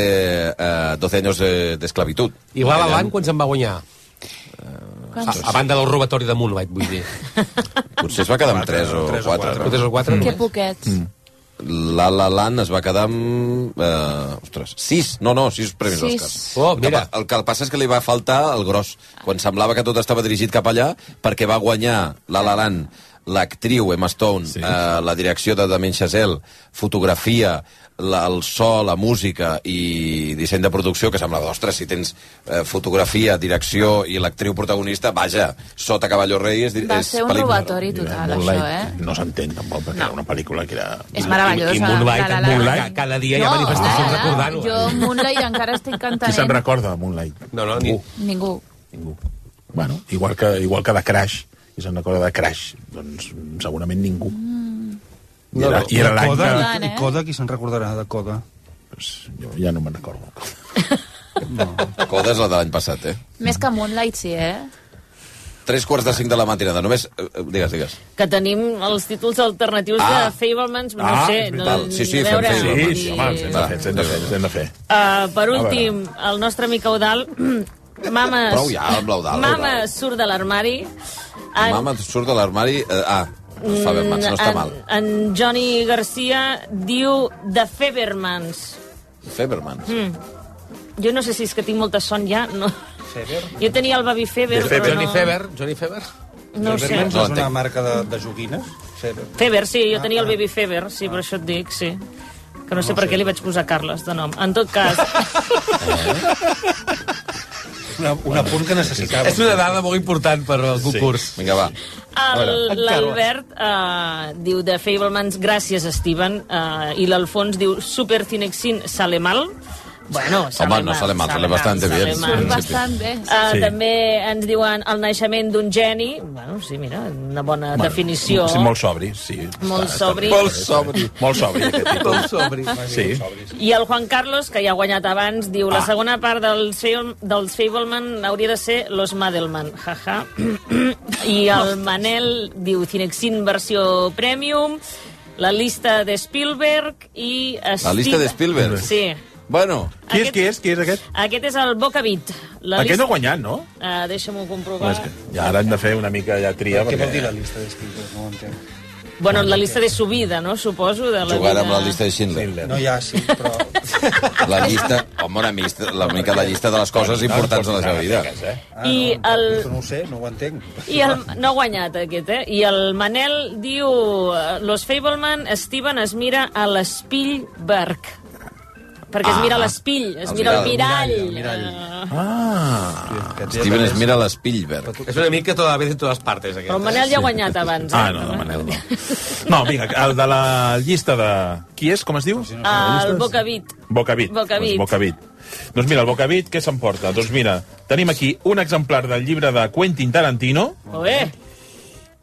[SPEAKER 1] eh, 12 anys de- d'esclavitud.
[SPEAKER 4] I La La Land, quan se'n va guanyar? A, a banda del robatori de Moonlight, vull dir.
[SPEAKER 1] doncs, Potser es va quedar amb 3 o 4.
[SPEAKER 4] Tres o quatre?
[SPEAKER 6] Que poquets. Mm.
[SPEAKER 1] La La Land es va quedar amb... Eh, ostres, sis, no, no, sis premis
[SPEAKER 6] Sis.
[SPEAKER 1] Oscars. Oh, mira. El que, el que passa és que li va faltar el gros, quan semblava que tot estava dirigit cap allà, perquè va guanyar La La Land l'actriu Emma Stone, sí. eh, la direcció de Damien Chazelle, fotografia, la, el so, la música i disseny de producció, que semblava, ostres, si tens eh, fotografia, direcció i l'actriu protagonista, vaja, sota Caballo Rei és, di-
[SPEAKER 6] Va
[SPEAKER 1] és
[SPEAKER 6] ser un
[SPEAKER 1] pel·lícula.
[SPEAKER 6] robatori total,
[SPEAKER 1] Moonlight.
[SPEAKER 6] això, eh?
[SPEAKER 5] No s'entén, tampoc, perquè no. era una pel·lícula que era...
[SPEAKER 6] És meravellosa,
[SPEAKER 5] I, i Moonlight,
[SPEAKER 6] eh? la, la, la, la.
[SPEAKER 5] Moonlight, cada dia
[SPEAKER 6] No,
[SPEAKER 5] manifestacions
[SPEAKER 6] la, la, la.
[SPEAKER 5] recordant-ho.
[SPEAKER 6] Jo, Moonlight, encara estic cantant.
[SPEAKER 5] Qui se'n recorda de Moonlight? Uh,
[SPEAKER 4] No, no, ni...
[SPEAKER 6] Ningú.
[SPEAKER 5] Bueno, igual que, igual que de Crash, i se'n recorda de Crash, doncs mm, segurament ningú.
[SPEAKER 6] Mm.
[SPEAKER 5] I era, i era
[SPEAKER 3] I
[SPEAKER 5] l'any
[SPEAKER 3] Coda,
[SPEAKER 5] que...
[SPEAKER 3] i, i Coda, qui se'n recordarà de Coda? Pues,
[SPEAKER 5] jo ja no me'n recordo.
[SPEAKER 1] Coda és la de l'any passat, eh?
[SPEAKER 6] Més que Moonlight, sí, eh?
[SPEAKER 1] Tres quarts de cinc de la matinada, només... eh, eh, Digues, digues.
[SPEAKER 2] que tenim els títols alternatius
[SPEAKER 1] Ah.
[SPEAKER 2] de Fablemans, no
[SPEAKER 1] Ah,
[SPEAKER 2] sé.
[SPEAKER 1] és
[SPEAKER 2] No,
[SPEAKER 1] veritat. Sí, sí,
[SPEAKER 2] a
[SPEAKER 1] fem
[SPEAKER 2] veure,
[SPEAKER 1] Fablemans.
[SPEAKER 2] vull
[SPEAKER 5] Sí,
[SPEAKER 2] dir-
[SPEAKER 5] home, ens hem de fer, ens hem de fer, ens hem de fer.
[SPEAKER 2] Eh, per
[SPEAKER 5] A
[SPEAKER 2] últim, el nostre mica Udal, Mama,
[SPEAKER 1] Prou ja, amb l'Eudal.
[SPEAKER 2] Mama ah. surt de l'armari. En-
[SPEAKER 1] Mama surt de l'armari... Eh, ah, Fabermans, no està
[SPEAKER 2] en,
[SPEAKER 1] mal.
[SPEAKER 2] En Johnny Garcia diu de Febermans.
[SPEAKER 1] Fabermans.
[SPEAKER 2] Mm. Jo no sé si és que tinc molta son ja. No. Jo tenia el Baby Feber, però
[SPEAKER 4] Johnny
[SPEAKER 2] no...
[SPEAKER 4] Feber, Johnny Feber?
[SPEAKER 2] No ho sé.
[SPEAKER 3] Febermans
[SPEAKER 2] No
[SPEAKER 3] és una marca de, de joguines? Feber.
[SPEAKER 2] Feber, sí, jo tenia el Baby Feber, sí, per això et dic, sí. Que Ah, no sé per què li vaig posar Carles, de nom. En tot cas,
[SPEAKER 3] Una, un apunt que necessitava.
[SPEAKER 4] És una dada molt important per al concurs. Sí.
[SPEAKER 1] Vinga, va.
[SPEAKER 2] El- L'Albert uh, diu de Fablemans, gràcies, Steven. Uh, I l'Alfons diu Supercinexin sale mal. Bueno, sale
[SPEAKER 1] Home, no
[SPEAKER 2] mal,
[SPEAKER 1] sale mal, sale bastante
[SPEAKER 2] sale
[SPEAKER 1] bien.
[SPEAKER 2] mal.
[SPEAKER 1] Surt bastant
[SPEAKER 6] bé.
[SPEAKER 2] Uh,
[SPEAKER 1] Sí.
[SPEAKER 2] Ah, sí. També ens diuen el naixement d'un geni. Bueno, sí, mira, una bona bueno, definició.
[SPEAKER 5] Sí, molt sobri, sí.
[SPEAKER 2] Molt sobri.
[SPEAKER 5] Molt sobri. Molt sobri, aquest títol.
[SPEAKER 2] Molt sobri.
[SPEAKER 5] Sí.
[SPEAKER 2] I el Juan Carlos, que ja ha guanyat abans, diu la
[SPEAKER 5] Ah.
[SPEAKER 2] segona part del, Fable- dels Fableman hauria de ser Los Madelman. Ja, ja. I el Manel diu Cinexin versió premium, la lista de Spielberg i... Steve-
[SPEAKER 1] lista de Spielberg?
[SPEAKER 2] Sí.
[SPEAKER 1] Bueno,
[SPEAKER 5] qui és, qui és, qui és aquest?
[SPEAKER 2] Aquest és el Bocavit. La
[SPEAKER 5] Aquest no ha guanyat, no?
[SPEAKER 2] Uh, Deixa-m'ho comprovar.
[SPEAKER 5] No, I ara hem de fer una mica ja tria.
[SPEAKER 3] Què vol dir la
[SPEAKER 5] lista de
[SPEAKER 3] No ho entenc.
[SPEAKER 2] Bueno, la lista de su vida, no? Suposo, de la
[SPEAKER 1] Jugant
[SPEAKER 2] vida...
[SPEAKER 1] amb la llista de Schindler.
[SPEAKER 3] No hi ha, sí, però...
[SPEAKER 1] La llista... Home, una, mista, la mica la llista de les coses importants de la seva vida.
[SPEAKER 2] I el...
[SPEAKER 3] No ho sé, no ho entenc.
[SPEAKER 2] I el, no ha guanyat aquest, eh? I el Manel diu... eh, Los Fableman, Steven es mira a l'Spielberg. Perquè es
[SPEAKER 1] Ah.
[SPEAKER 2] mira a l'espill, es
[SPEAKER 1] El
[SPEAKER 2] mira al
[SPEAKER 1] mirall.
[SPEAKER 2] mirall.
[SPEAKER 1] El
[SPEAKER 2] mirall.
[SPEAKER 1] Ah, Steven es mira a l'Spielberg.
[SPEAKER 4] És una mica tota la vez en totes partes, aquest. eh?
[SPEAKER 2] Però el Manel ja ha guanyat abans,
[SPEAKER 5] Ah,
[SPEAKER 2] eh?
[SPEAKER 5] no, no, Manel, no. No, vinga, el de la llista de... Qui és, com es diu?
[SPEAKER 2] El Bocavit.
[SPEAKER 5] Bocavit.
[SPEAKER 2] Bocavit.
[SPEAKER 5] Doncs, Bocavit. Doncs mira, el Bocavit què s'emporta? Doncs mira, tenim aquí un exemplar del llibre de Quentin Tarantino
[SPEAKER 2] Oé,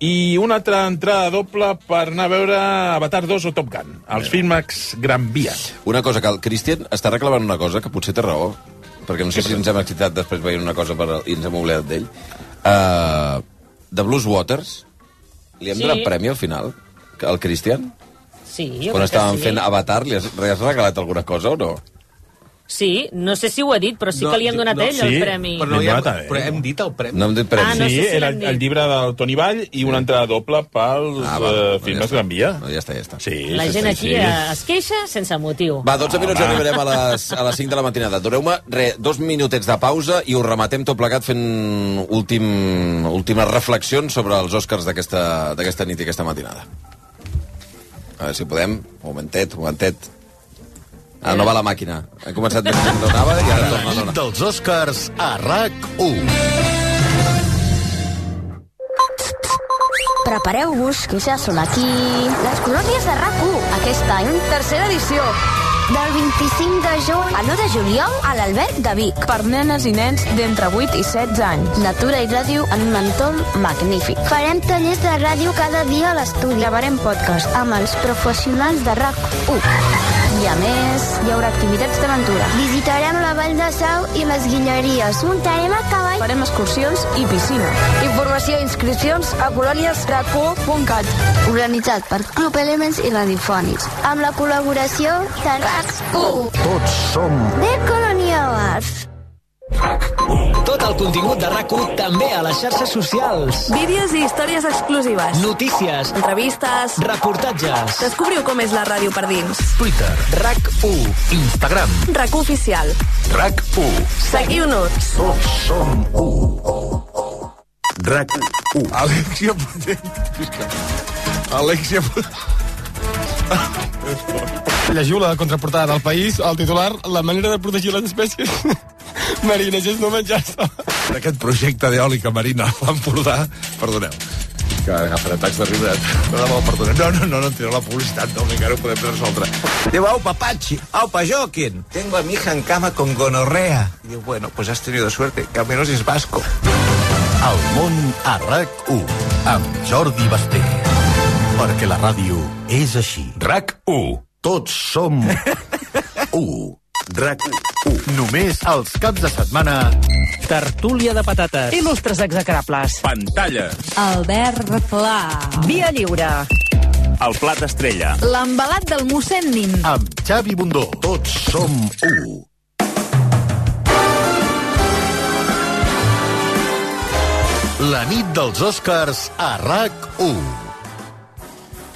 [SPEAKER 5] i una altra entrada doble per anar a veure Avatar 2 o Top Gun, els films Gran Via.
[SPEAKER 1] Una cosa, que el Christian està reclamant una cosa que potser té raó, perquè no sé si ens hem excitat després veient una cosa per, i ens hem oblidat d'ell. Uh, de Blues Waters, li hem
[SPEAKER 2] Sí.
[SPEAKER 1] donat premi al final, que- al Christian?
[SPEAKER 2] sí. jo
[SPEAKER 1] Quan
[SPEAKER 2] crec que
[SPEAKER 1] estàvem
[SPEAKER 2] sí.
[SPEAKER 1] fent Avatar, li has, li has regalat alguna cosa o no?
[SPEAKER 2] Sí, no sé si ho ha dit, però sí que li hem donat a ell el premi.
[SPEAKER 4] Però, no,
[SPEAKER 5] Li
[SPEAKER 4] ja,
[SPEAKER 5] hem donat a ell.
[SPEAKER 1] eh?
[SPEAKER 4] però hem dit el premi.
[SPEAKER 1] No hem dit
[SPEAKER 2] premi. Ah, no sé
[SPEAKER 5] sí,
[SPEAKER 2] si
[SPEAKER 5] era
[SPEAKER 2] l'hem
[SPEAKER 5] el,
[SPEAKER 2] dit.
[SPEAKER 5] el llibre del Toni Vall i una entrada doble pels ah, va, eh, films Gran Via.
[SPEAKER 1] No, ja està, ja està.
[SPEAKER 5] Sí,
[SPEAKER 2] La
[SPEAKER 5] sí,
[SPEAKER 2] gent
[SPEAKER 5] sí,
[SPEAKER 2] aquí
[SPEAKER 5] sí.
[SPEAKER 2] eh, es queixa sense motiu.
[SPEAKER 1] Va, doncs- 12 minuts
[SPEAKER 5] Home.
[SPEAKER 1] arribarem a les, a les 5 de la matinada. Doneu-me re, dos minutets de pausa i ho rematem tot plegat fent últim, últimes reflexions sobre els Oscars d'aquesta d'aquesta nit i aquesta matinada. A veure si podem. Un momentet, un momentet. Ah, no va la màquina. Hem començat més que no anava i ara torna, torna.
[SPEAKER 17] dels Oscars a RAC1.
[SPEAKER 18] Prepareu-vos, que ja són aquí. Les colònies de RAC1, aquest any, tercera edició. Del 25 de juny a l'1 de juliol a l'Albert de Vic. Per nenes i nens d'entre 8 i 16 anys. Natura i ràdio en un entorn magnífic.
[SPEAKER 19] Farem tallers de ràdio cada dia a l'estudi.
[SPEAKER 18] Gravarem podcast amb els professionals de RAC1. I a més, hi haurà activitats d'aventura.
[SPEAKER 19] Visitarem la Vall de Sau i les Guilleries. Muntarem a cavall.
[SPEAKER 18] Farem excursions i piscina.
[SPEAKER 20] Informació i inscripcions a coloniesracó.cat.
[SPEAKER 19] Organitzat per Club Elements i Radiofònics. Amb la col·laboració de RAC1.
[SPEAKER 21] Tots som...
[SPEAKER 19] De Colònia Arts.
[SPEAKER 22] Tot el contingut de rac també a les xarxes socials.
[SPEAKER 23] Vídeos i històries exclusives.
[SPEAKER 22] Notícies.
[SPEAKER 23] Entrevistes.
[SPEAKER 22] Reportatges.
[SPEAKER 23] Descobriu com és la ràdio per dins.
[SPEAKER 22] Twitter. RAC1. Instagram.
[SPEAKER 23] RAC Oficial.
[SPEAKER 21] RAC1.
[SPEAKER 23] Seguiu-nos.
[SPEAKER 21] Tots som 1. RAC1.
[SPEAKER 24] Alexia Potent. Alexia
[SPEAKER 25] Llegiu la contraportada del País, el titular, la manera de protegir les espècies marines és no menjar-se.
[SPEAKER 24] Aquest projecte d'eòlica marina a l'Empordà... Perdoneu, que agafen atacs de riure. No, no, perdoneu. No, no, no, no tireu la publicitat, no, que ara ho podem resoldre.
[SPEAKER 26] Digo, aupa Pachi, aupa Joaquín. Tengo a mi hija en cama con gonorrea. Y digo, bueno, pues has tenido suerte, que al menos es vasco.
[SPEAKER 21] El món a RAC1 amb Jordi Basté. Perquè la ràdio és així. RAC1. Tots som 1. RAC1. Només els caps de setmana.
[SPEAKER 27] Tertúlia de patates.
[SPEAKER 28] Il·lustres execrables.
[SPEAKER 21] Pantalla.
[SPEAKER 28] Albert Pla. Via lliure.
[SPEAKER 21] El plat estrella.
[SPEAKER 28] L'embalat del mossèn Nin.
[SPEAKER 21] Amb Xavi Bundó. Tots som 1. La nit dels Oscars a RAC1.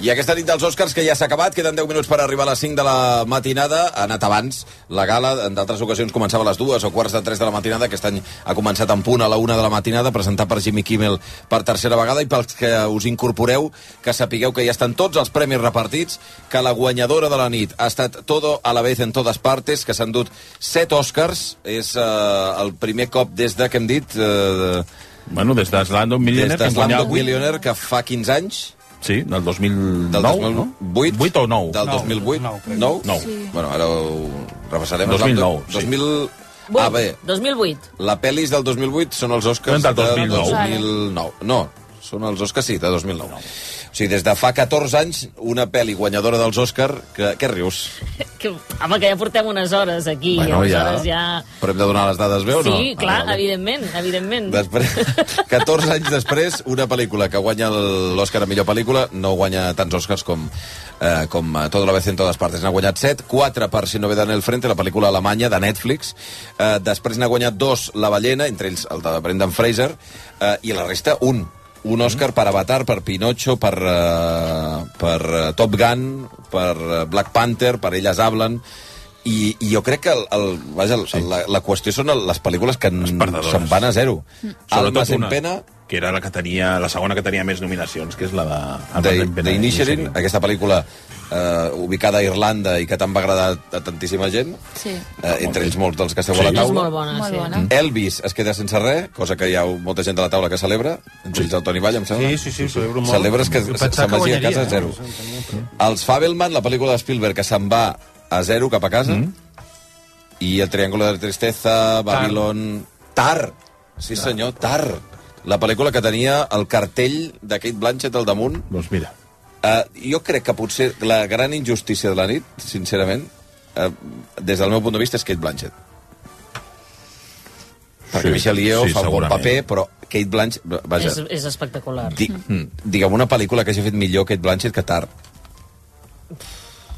[SPEAKER 1] I aquesta nit dels Oscars que ja s'ha acabat, queden 10 minuts per arribar a les 5 de la matinada, ha anat abans. La gala, en d'altres ocasions, començava a les 2 o quarts de 3 de la matinada, aquest any ha començat en punt a la 1 de la matinada, presentat per Jimmy Kimmel per tercera vegada, i pels que us incorporeu, que sapigueu que ja estan tots els premis repartits, que la guanyadora de la nit ha estat Todo a la vez en todas partes, que s'han dut 7 Oscars, és eh, el primer cop des de que hem dit... Eh,
[SPEAKER 5] Bueno, des de Slumdog Millionaire,
[SPEAKER 1] des de
[SPEAKER 5] que hem guanyat
[SPEAKER 1] Slumdog
[SPEAKER 5] avui.
[SPEAKER 1] Millionaire, que fa 15 anys,
[SPEAKER 5] Sí, del 2009,
[SPEAKER 1] Del 2008?
[SPEAKER 5] no? 8 o 9?
[SPEAKER 1] del 2008, 9?
[SPEAKER 5] No, no.
[SPEAKER 1] Bueno, ara ho repassarem.
[SPEAKER 5] 2009,
[SPEAKER 1] Slumdog- 2000... Ah, bé,
[SPEAKER 2] 2008.
[SPEAKER 1] la pel·lis del 2008 són els Oscars
[SPEAKER 5] Del 2009.
[SPEAKER 1] 2009. No, són els Oscars, sí, de 2009. O sigui, des de fa 14 anys, una pel·li guanyadora dels Oscars... Que, què rius?
[SPEAKER 2] Que, home, que ja portem unes hores aquí.
[SPEAKER 1] Bueno,
[SPEAKER 2] i
[SPEAKER 1] ja.
[SPEAKER 2] aleshores ja...
[SPEAKER 1] Però hem de donar les dades bé o no?
[SPEAKER 2] sí, clar,
[SPEAKER 1] Ah, vale.
[SPEAKER 2] evidentment, evidentment.
[SPEAKER 1] Després, 14 anys després, una pel·lícula que guanya el- l'Oscar a millor pel·lícula no guanya tants Oscars com, eh, com eh, Todo la vez en todas partes. N'ha guanyat 7, 4 per Si no ve en el frente, la pel·lícula alemanya de Netflix. Eh, després n'ha guanyat 2 La ballena, entre ells el de Brendan Fraser, eh, i la resta un. Un Oscar per Avatar, per Pinocho, per, eh, per eh, Top Gun, per eh, Black Panther, per Elles hablen... I, i jo crec que el, el, vaja, el, sí. la, la qüestió són el- les pel·lícules que n-
[SPEAKER 5] perdedores.
[SPEAKER 3] Doncs.
[SPEAKER 1] se'n van a zero. Almas en pena,
[SPEAKER 5] que era la que tenia, la segona que tenia més nominacions, que és la de... Almas
[SPEAKER 1] The,
[SPEAKER 5] en
[SPEAKER 3] eh,
[SPEAKER 1] The Initiating, aquesta pel·lícula eh, ubicada a Irlanda i que tant va agradar a tantíssima gent,
[SPEAKER 6] Sí.
[SPEAKER 3] Ah,
[SPEAKER 1] eh, entre ells molts dels que esteu
[SPEAKER 5] Sí.
[SPEAKER 1] a la
[SPEAKER 5] És
[SPEAKER 1] taula.
[SPEAKER 5] molt bona,
[SPEAKER 6] Molt sí. bona.
[SPEAKER 1] Elvis es queda sense res, cosa que hi ha molta gent de la taula que celebra, entre ells el Toni Vall, em sembla.
[SPEAKER 3] Sí, sí, celebro molt.
[SPEAKER 1] Celebres que eh?
[SPEAKER 3] Jo
[SPEAKER 1] se-
[SPEAKER 3] pensava que
[SPEAKER 1] se'n vagi a
[SPEAKER 3] guanyaria, eh?
[SPEAKER 1] casa a zero. Els Fabelman, la pel·lícula de Spielberg, que se'n va a zero cap a casa, mm. i el Triángulo de la Tristeza, Babylon... Tar! Sí, senyor, Tar! La pel·lícula que tenia el cartell de Kate Blanchett al damunt.
[SPEAKER 5] Doncs mira.
[SPEAKER 1] Uh, jo crec que potser la gran injustícia de la nit, sincerament, uh, des del meu punt de vista, és Kate Blanchett. Perquè
[SPEAKER 5] Sí,
[SPEAKER 1] Michelle Yeoh
[SPEAKER 5] sí,
[SPEAKER 1] fa un bon
[SPEAKER 5] segurament.
[SPEAKER 1] paper, però Kate Blanchett... Vaja,
[SPEAKER 2] És, és espectacular.
[SPEAKER 1] di, digue'm una pel·lícula que hagi fet millor Kate Blanchett que Tar.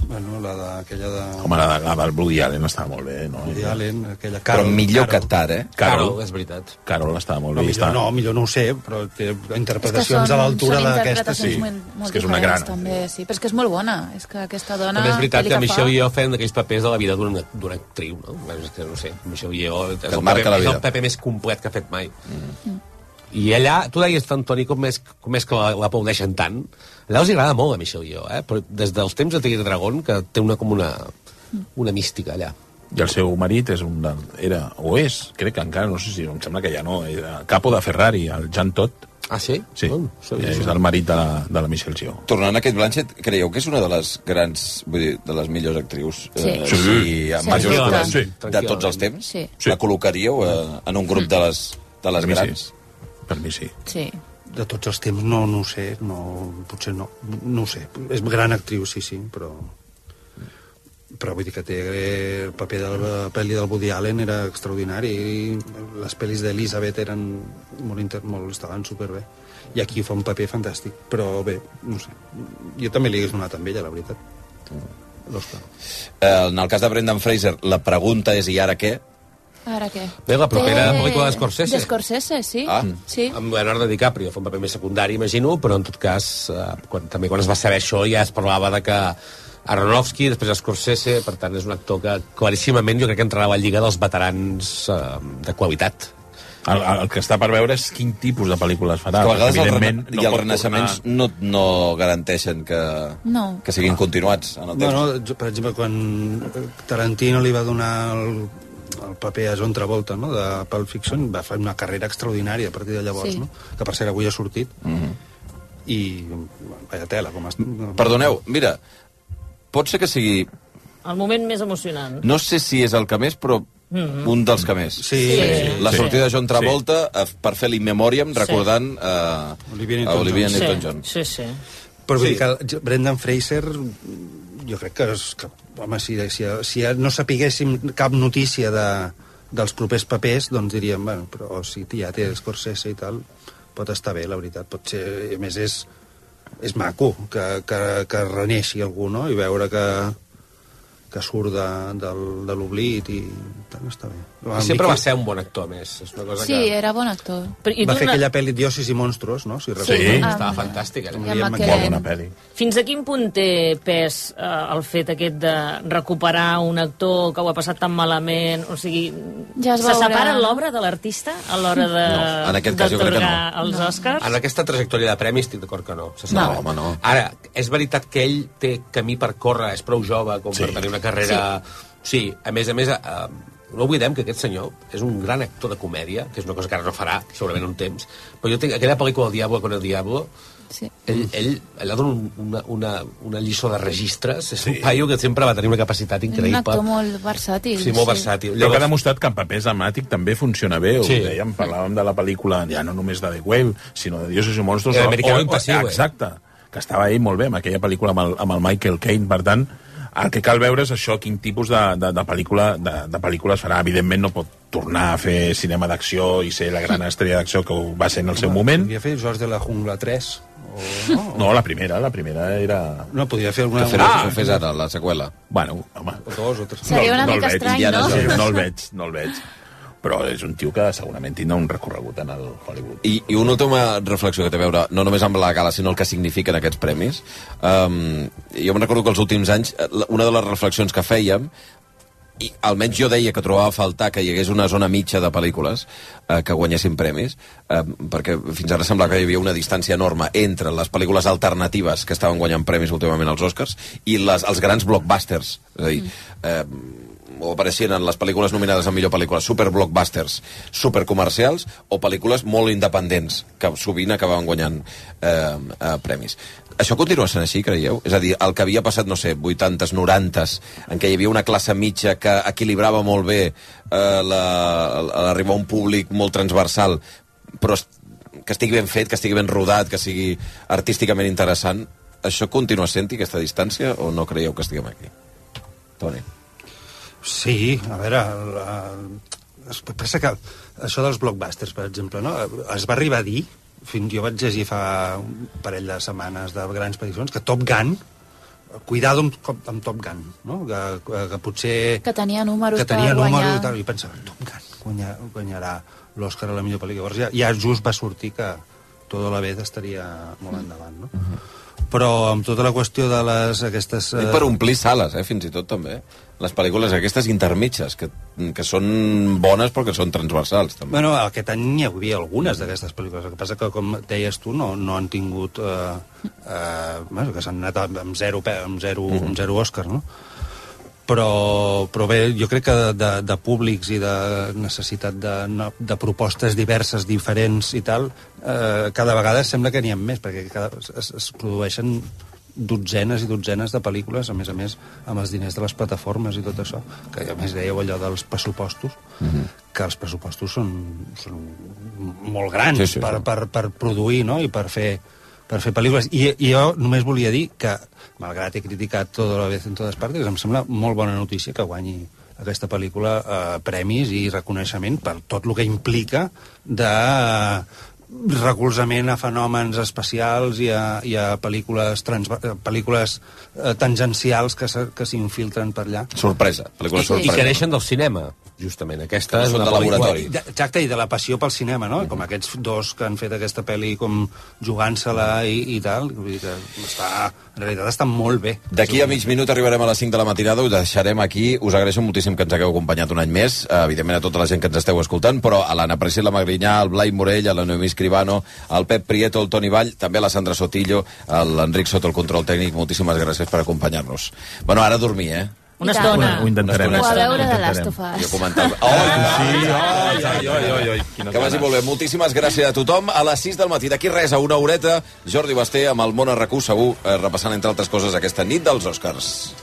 [SPEAKER 3] Bueno, la d'aquella de...
[SPEAKER 24] Home, la, la del Woody Allen estava molt bé, no?
[SPEAKER 3] Woody Allen, aquella
[SPEAKER 1] Però
[SPEAKER 3] Carol.
[SPEAKER 1] millor
[SPEAKER 3] Carol.
[SPEAKER 1] que Tar, eh?
[SPEAKER 24] Carol.
[SPEAKER 4] és veritat.
[SPEAKER 24] Carol estava molt
[SPEAKER 3] No,
[SPEAKER 24] bé.
[SPEAKER 3] millor,
[SPEAKER 24] està...
[SPEAKER 3] no, millor no ho sé, però té
[SPEAKER 6] És que són-
[SPEAKER 3] interpretacions a l'altura
[SPEAKER 6] són
[SPEAKER 3] d'aquesta, sí.
[SPEAKER 6] interpretacions Molt, molt
[SPEAKER 24] És que és una gran.
[SPEAKER 6] diferents, També, sí. Però és que és molt bona. És que aquesta dona...
[SPEAKER 4] També és veritat
[SPEAKER 6] pel·li
[SPEAKER 4] que
[SPEAKER 6] fa-
[SPEAKER 4] Michelle Yeoh feien d'aquells papers de la vida d'una d'una actriu, no? Bueno, És que no sé, Michelle Yeoh és, el,
[SPEAKER 1] marca
[SPEAKER 4] paper,
[SPEAKER 1] la
[SPEAKER 4] és el
[SPEAKER 1] vida.
[SPEAKER 4] paper més complet que ha fet mai. I allà, tu deies, Antoni, com és, com és que la- l'aplaudeixen tant. Allà els agrada molt a Michelle Yeoh, eh? Però des dels temps de Tigre Dragón, que té una, com una, una mística allà.
[SPEAKER 24] I el seu marit és un del, era, o és, crec que encara, no sé si, em sembla que ja no, era capo de Ferrari, el Jean Todt.
[SPEAKER 4] Ah, sí?
[SPEAKER 5] Sí, és el marit de la, de la Michelle Xiu.
[SPEAKER 1] Tornant a aquest Blanchett, creieu que és una de les grans, vull dir, de les millors actrius
[SPEAKER 5] Sí.
[SPEAKER 1] eh,
[SPEAKER 5] Sí.
[SPEAKER 1] i amb
[SPEAKER 5] Sí.
[SPEAKER 1] majúscules
[SPEAKER 5] Sí.
[SPEAKER 1] de tots els temps?
[SPEAKER 6] Sí.
[SPEAKER 1] La col·locaríeu eh, en un grup de les, de les
[SPEAKER 3] Per mi sí.
[SPEAKER 1] grans?
[SPEAKER 5] Per mi sí.
[SPEAKER 6] Sí.
[SPEAKER 3] De tots els temps, no, no ho sé, no, potser no, no ho sé. És gran actriu, sí, sí, però... Però vull dir que té el paper de la pel·li del Woody Allen era extraordinari. i Les pel·lis d'Elisabet eren molt, inter... molt estaven superbé. I aquí fa un paper fantàstic. Però bé, no ho sé. Jo també li hagués donat amb ella, la veritat. L'Òscar.
[SPEAKER 1] Eh, en el cas de Brendan Fraser, la pregunta és i ara què? Eh,
[SPEAKER 6] Ara què?
[SPEAKER 4] Bé, la propera
[SPEAKER 6] Té-
[SPEAKER 4] pel·lícula de Scorsese.
[SPEAKER 6] D'Scorsese, Eh, sí. Mm.
[SPEAKER 4] Ah.
[SPEAKER 6] Sí.
[SPEAKER 4] Amb Leonardo DiCaprio, fa un paper més secundari, imagino, però en tot cas, eh, quan, també quan es va saber això ja es parlava de que Aronofsky, després Scorsese, per tant és un actor que claríssimament jo crec que entrarà a la lliga dels veterans eh, de qualitat.
[SPEAKER 5] El, el que està per veure és quin tipus de pel·lícules farà.
[SPEAKER 1] Ah, que a vegades el rena...
[SPEAKER 5] evidentment,
[SPEAKER 1] no i els
[SPEAKER 5] pot
[SPEAKER 1] renaixements
[SPEAKER 5] tornar-
[SPEAKER 1] no, no garanteixen que,
[SPEAKER 6] No.
[SPEAKER 1] que siguin continuats en el
[SPEAKER 3] No,
[SPEAKER 1] temps.
[SPEAKER 3] no, jo, per exemple, quan eh, Tarantino li va donar el, el paper a John Travolta, no?, de Pulp Fiction, va fer una carrera extraordinària a partir de llavors,
[SPEAKER 1] Sí.
[SPEAKER 3] no?, que per cert avui ha sortit, i bueno, vaya tela, com es...
[SPEAKER 1] Perdoneu, mira, pot ser que sigui...
[SPEAKER 2] El moment més emocionant.
[SPEAKER 1] No sé si és el que més, però
[SPEAKER 2] Mm.
[SPEAKER 1] un dels que més.
[SPEAKER 2] Sí. Sí.
[SPEAKER 1] La
[SPEAKER 2] Sí.
[SPEAKER 1] sortida de John
[SPEAKER 2] Sí.
[SPEAKER 1] Travolta eh, per fer l'Immemoriam recordant eh,
[SPEAKER 3] Olivia
[SPEAKER 1] a
[SPEAKER 3] Newton-John.
[SPEAKER 1] Olivia
[SPEAKER 3] Sí.
[SPEAKER 1] Newton-John.
[SPEAKER 2] Sí, sí.
[SPEAKER 3] Però vull
[SPEAKER 1] Sí.
[SPEAKER 3] dir que el- Brendan Fraser jo crec que, és, que home, si, si, si no sapiguéssim cap notícia de, dels propers papers, doncs diríem, bueno, però si ja té Scorsese i tal, pot estar bé, la veritat. Pot ser, a més, és, és maco que, que, que reneixi algú, no?, i veure que, que surt de, del, de l'oblit i tant, està bé.
[SPEAKER 4] I sempre va ser un bon actor, a més. És una cosa
[SPEAKER 6] Sí, era bon actor.
[SPEAKER 2] Però,
[SPEAKER 3] que... Va fer aquella pel·li Diòcis i Monstros, no?, si recordo.
[SPEAKER 6] amb- Estava
[SPEAKER 4] fantàstica.
[SPEAKER 6] amb Ian McKellen.
[SPEAKER 3] Bona pel·li.
[SPEAKER 2] Fins a quin punt té pes eh, el fet aquest de recuperar un actor que ho ha passat tan malament? O sigui,
[SPEAKER 6] Ja es
[SPEAKER 2] se
[SPEAKER 6] veurà.
[SPEAKER 2] separa l'obra de l'artista a l'hora de...
[SPEAKER 6] Eh,
[SPEAKER 4] No, en aquest cas jo crec que
[SPEAKER 2] d'atorgar
[SPEAKER 4] no.
[SPEAKER 2] Els Oscars?
[SPEAKER 4] En aquesta trajectòria de premis estic d'acord que no. Se no. home, no. Ara, és veritat que ell té camí per córrer, és prou jove com sí. per tenir una carrera... Sí. sí, a més a més, eh, no oblidem que aquest senyor és un gran actor de comèdia, que és una cosa que ara no farà, segurament un temps, però jo tinc aquella pel·lícula El Diablo con el Diablo,
[SPEAKER 6] Sí.
[SPEAKER 4] ell, ell, ell ha donat una, una, una lliçó de registres, és sí. un paio que sempre va tenir una capacitat
[SPEAKER 6] Un actor
[SPEAKER 4] increïble.
[SPEAKER 6] molt versàtil.
[SPEAKER 5] Però que ha demostrat que el paper dramàtic també funciona bé. Sí.
[SPEAKER 4] Sí.
[SPEAKER 5] Ho dèiem, parlàvem de la pel·lícula ja no només de The Whale, sinó de Dioses i Monstros.
[SPEAKER 4] Eh,
[SPEAKER 5] o-
[SPEAKER 4] Americano
[SPEAKER 5] o-
[SPEAKER 4] Impassible.
[SPEAKER 5] Exacte, que estava ell molt bé amb aquella pel·lícula amb el, amb el Michael Caine. Per tant, el que cal veure és això, quin tipus de, de, de, pel·lícula, de, de pel·lícules farà. Evidentment no pot tornar a fer cinema d'acció i ser la gran estrella d'acció que ho va ser en el seu moment.
[SPEAKER 3] Podria fer George de la Jungla 3.
[SPEAKER 5] No, la primera, la primera era...
[SPEAKER 3] No, podria fer
[SPEAKER 1] Que
[SPEAKER 3] una...
[SPEAKER 1] fer-ho ah! fes ara, la seqüela.
[SPEAKER 5] Bueno, home.
[SPEAKER 3] O dos o tres.
[SPEAKER 6] Seria una mica
[SPEAKER 5] el veig.
[SPEAKER 6] estrany, no?
[SPEAKER 5] Sí, no el veig, no el veig. Però és un tio que segurament tindrà un recorregut en el Hollywood.
[SPEAKER 1] I, I una última reflexió que té a veure, no només amb la gala, sinó el que signifiquen aquests premis. Um, jo em recordo que els últims anys, eh, la- una de les reflexions que fèiem, i almenys jo deia que trobava a faltar que hi hagués una zona mitja de pel·lícules eh, que guanyessin premis, eh, perquè fins ara semblava que hi havia una distància enorme entre les pel·lícules alternatives que estaven guanyant premis últimament als Oscars i les, els grans blockbusters. És a dir, eh, o apareixien en les pel·lícules nominades a millor pel·lícula, superblockbusters, supercomercials o pel·lícules molt independents, que sovint acabaven guanyant eh, eh, premis. Això continua sent així, creieu? És a dir, el que havia passat, no sé, 80s, 90s, en què hi havia una classe mitja que equilibrava molt bé eh, la- l'arribar a un públic molt transversal, però es- que estigui ben fet, que estigui ben rodat, que sigui artísticament interessant, això continua sent-hi, aquesta distància, o no creieu que estiguem aquí? Toni.
[SPEAKER 3] Sí, a veure... La... Es passa que això dels blockbusters, per exemple, no? es va arribar a dir, fins jo vaig llegir fa un parell de setmanes de grans peticions, que Top Gun, cuidado amb, amb Top Gun, no? que, que, que potser...
[SPEAKER 6] Que tenia números
[SPEAKER 3] que tenia
[SPEAKER 6] per guanyar.
[SPEAKER 3] números i tal, i pensava, Tom Gunn guanyar, guanyarà l'Òscar a la millor pel·lícula. Llavors ja, ja just va sortir que tota la vez estaria
[SPEAKER 6] Mm-hmm.
[SPEAKER 3] molt endavant, no? Però amb tota la qüestió de les, aquestes...
[SPEAKER 1] Dic per omplir sales, eh, fins i tot, també. Les pel·lícules aquestes intermitges, que, que són bones però que són transversals, també.
[SPEAKER 3] Bueno, aquest any n'hi havia algunes d'aquestes pel·lícules. El que passa que, com deies tu, no, no han tingut... Eh, eh, bueno, que s'han anat amb amb zero, pe- amb zero, amb zero Òscar, no? però, però bé, jo crec que de, de, de públics i de necessitat de, no- de propostes diverses, diferents i tal, eh, cada vegada sembla que n'hi ha més, perquè cada, es, es produeixen dotzenes i dotzenes de pel·lícules, a més a més, amb els diners de les plataformes i tot això, que a més dèieu allò dels pressupostos,
[SPEAKER 1] Mhm.
[SPEAKER 3] que els pressupostos són, són molt grans
[SPEAKER 1] Sí, sí,
[SPEAKER 3] per,
[SPEAKER 1] sí.
[SPEAKER 3] Per, per produir no? i per fer, per fer pel·lícules. I, I jo només volia dir que, malgrat he criticat tota la vez en totes partes, em sembla molt bona notícia que guanyi aquesta pel·lícula eh, premis i reconeixement per tot el que implica de eh, recolzament a fenòmens especials i a, i a pel·lícules, trans, pel·lícules eh, tangencials que se- que s'infiltren per allà.
[SPEAKER 1] Sorpresa,
[SPEAKER 4] I,
[SPEAKER 1] pel·lícula
[SPEAKER 4] I
[SPEAKER 1] sorpresa.
[SPEAKER 4] que neixen del cinema, justament. Aquesta és
[SPEAKER 1] Són
[SPEAKER 4] una
[SPEAKER 1] de
[SPEAKER 4] pel·lícula- Mm-hmm.
[SPEAKER 1] laboratori.
[SPEAKER 3] De- Exacte, i de la passió pel cinema, no? Com aquests dos que han fet aquesta pel·li com jugant-se-la i, i tal. Vull dir que està, en realitat està molt bé.
[SPEAKER 1] D'aquí a mig minut arribarem a les 5 de la matinada, us deixarem aquí. Us agraeixo moltíssim que ens hagueu acompanyat un any més, eh, evidentment a tota la gent que ens esteu escoltant, però a l'Anna Priscila Magrinyà, al Blai Morell, a la Noemí Escribano, al Pep Prieto, al Toni Vall, també a la Sandra Sotillo, a l'Enric Soto, el control tècnic. Moltíssimes gràcies per acompanyar-nos. Bueno, ara a dormir, eh?
[SPEAKER 29] Una estona.
[SPEAKER 1] Ho intentarem.
[SPEAKER 30] O a eh? veure de Last of Us.
[SPEAKER 1] Jo comentava... Oh, sí, ai, ai, ai, ai, ai, Que vagi molt bé. Moltíssimes gràcies a tothom. A les 6 del matí, d'aquí res, a una horeta, Jordi Basté amb el món a RAC1, segur, eh, repassant, entre altres coses, aquesta nit dels Oscars.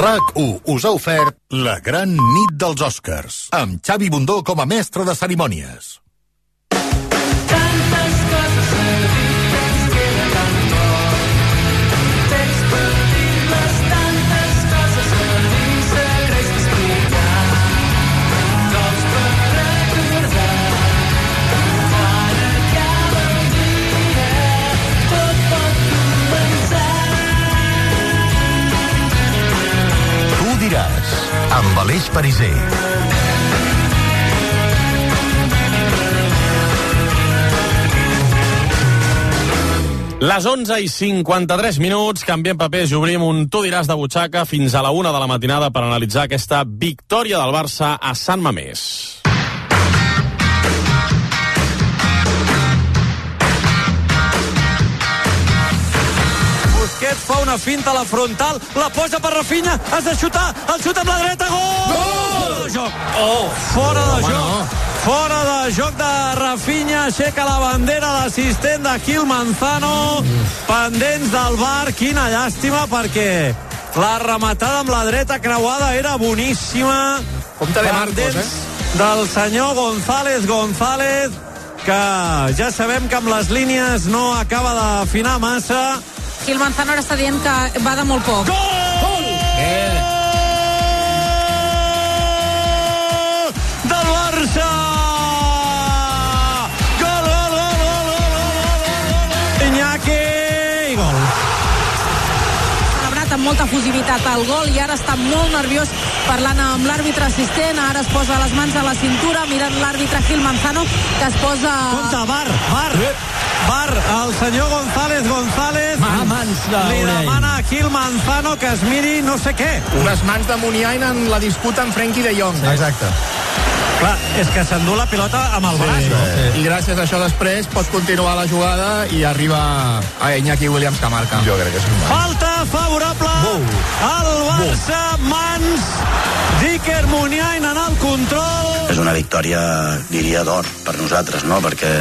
[SPEAKER 5] RAC1 us ha ofert la gran nit dels Oscars, amb Xavi Bundó com a mestre de cerimònies. Tu ho diràs, amb Aleix Pariser.
[SPEAKER 8] Les 11 i 53 minuts, canviem papers i obrim un Tu diràs de butxaca fins a la 1 de la matinada per analitzar aquesta victòria del Barça a Sant Mamés.
[SPEAKER 9] Busquets fa una finta a la frontal, la posa per Rafinha, has de xutar, el xuta amb la dreta, gol! Fora de joc! Oh, fora de joc! Fora de joc de Rafinha, aixeca la bandera l'assistent de Gil Manzano, pendents del bar, quina llàstima, perquè la rematada amb la dreta creuada era boníssima.
[SPEAKER 31] Compte-li a Marcos, eh?
[SPEAKER 9] Pendents Del senyor González González, que ja sabem que amb les línies no acaba d'afinar massa.
[SPEAKER 21] Gil Manzano ara està dient que va de molt poc. Gol!
[SPEAKER 9] Eh! Del Barça! Gol, gol, gol, gol, gol, gol, gol, gol, Iñaki! I gol.
[SPEAKER 21] Celebrat amb molta fusivitat el gol i ara està molt nerviós parlant amb l'àrbitre assistent. Ara es posa les mans a la cintura mirant l'àrbitre Gil Manzano que es posa... Compte,
[SPEAKER 9] bar, bar! Bar, el senyor González González li demana a Gil Manzano que es miri no sé què.
[SPEAKER 31] Les mans de Muniain en la disputa amb Frenkie de Jong. eh? Sí. Exacte.
[SPEAKER 9] Clar, és que s'endú la pilota amb el braç, no?
[SPEAKER 31] I gràcies a això després pots continuar la jugada i arriba a Iñaki Williams que marca. Jo crec que és un
[SPEAKER 9] Falta favorable al Barça, mans d'Iker Muniain en el control.
[SPEAKER 13] És una victòria, diria, d'or per nosaltres, no? Perquè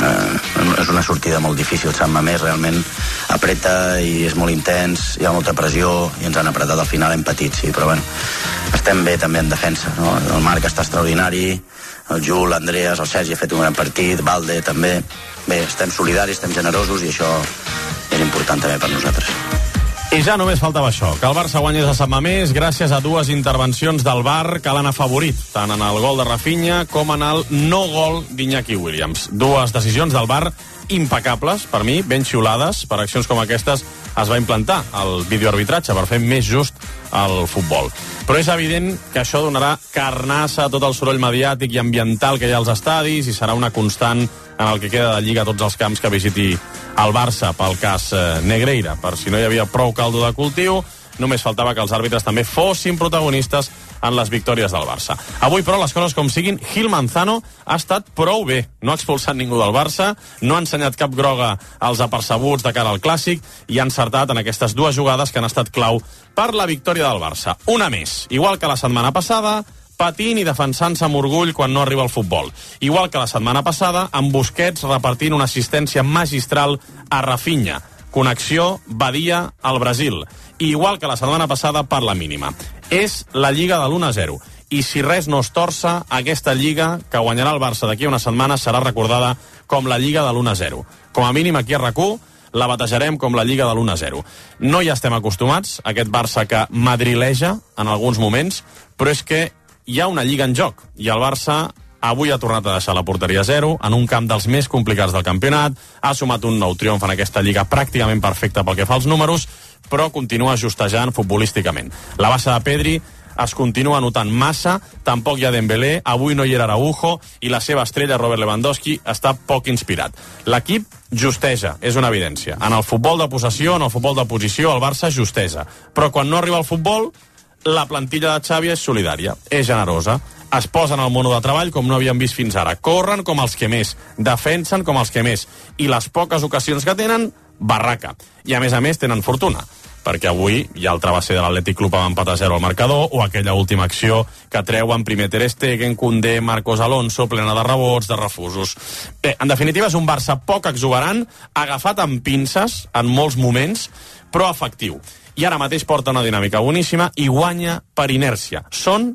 [SPEAKER 13] eh, és una sortida molt difícil. Sant Mamés realment apreta i és molt intens, hi ha molta pressió i ens han apretat al final, hem patit, sí, però bueno, estem bé també en defensa. No? El Marc està extraordinari, el Jul, l'Andreas, el Sergi ha fet un gran partit, Valde també. Bé, estem solidaris, estem generosos i això és important també per nosaltres.
[SPEAKER 8] I ja només faltava això, que el Barça guanyés a Sant Mamés gràcies a dues intervencions del VAR que l'han afavorit, tant en el gol de Rafinha com en el no-gol d'Iñaki Williams. Dues decisions del VAR impecables, per mi, ben xiulades. Per accions com aquestes es va implantar el videoarbitratge per fer més just el futbol. Però és evident que això donarà carnassa a tot el soroll mediàtic i ambiental que hi ha als estadis i serà una constant en el que queda de lliga a tots els camps que visiti el Barça pel cas eh, Negreira. Per si no hi havia prou caldo de cultiu, només faltava que els àrbitres també fossin protagonistes en les victòries del Barça. Avui, però, les coses com siguin, Gil Manzano ha estat prou bé. No ha expulsat ningú del Barça, no ha ensenyat cap groga als apercebuts de cara al Clàssic i ha encertat en aquestes dues jugades que han estat clau per la victòria del Barça. Una més, igual que la setmana passada, patint i defensant-se amb orgull quan no arriba al futbol. Igual que la setmana passada, amb Busquets repartint una assistència magistral a Rafinha. Connexió Badia al Brasil. I igual que la setmana passada, per la mínima. És la Lliga de l'1-0. I si res no es torça, aquesta Lliga, que guanyarà el Barça d'aquí a una setmana, serà recordada com la Lliga de l'1-0. Com a mínim aquí a RAC1, la batejarem com la Lliga de l'1-0. No hi estem acostumats, aquest Barça que madrileja en alguns moments, però és que hi ha una lliga en joc i el Barça avui ha tornat a deixar la porteria a zero en un camp dels més complicats del campionat, ha sumat un nou triomf en aquesta lliga pràcticament perfecta pel que fa als números, però continua justejant futbolísticament. La bassa de Pedri es continua notant massa, tampoc hi ha Dembélé, avui no hi era Araujo i la seva estrella Robert Lewandowski està poc inspirat. L'equip justeja, és una evidència. En el futbol de possessió, en el futbol de posició, el Barça justeja. Però quan no arriba al futbol, la plantilla de Xavi és solidària, és generosa, es posen al mono de treball com no havíem vist fins ara, corren com els que més, defensen com els que més, i les poques ocasions que tenen, barraca. I a més a més tenen fortuna, perquè avui hi ha el travesser de l'Atlètic Club amb empat a 0 al marcador, o aquella última acció que treuen primer Ter Stegen, Condé, Marcos Alonso, plena de rebots, de refusos. Bé, en definitiva és un Barça poc exuberant, agafat amb pinces en molts moments, però efectiu i ara mateix porta una dinàmica boníssima i guanya per inèrcia. Són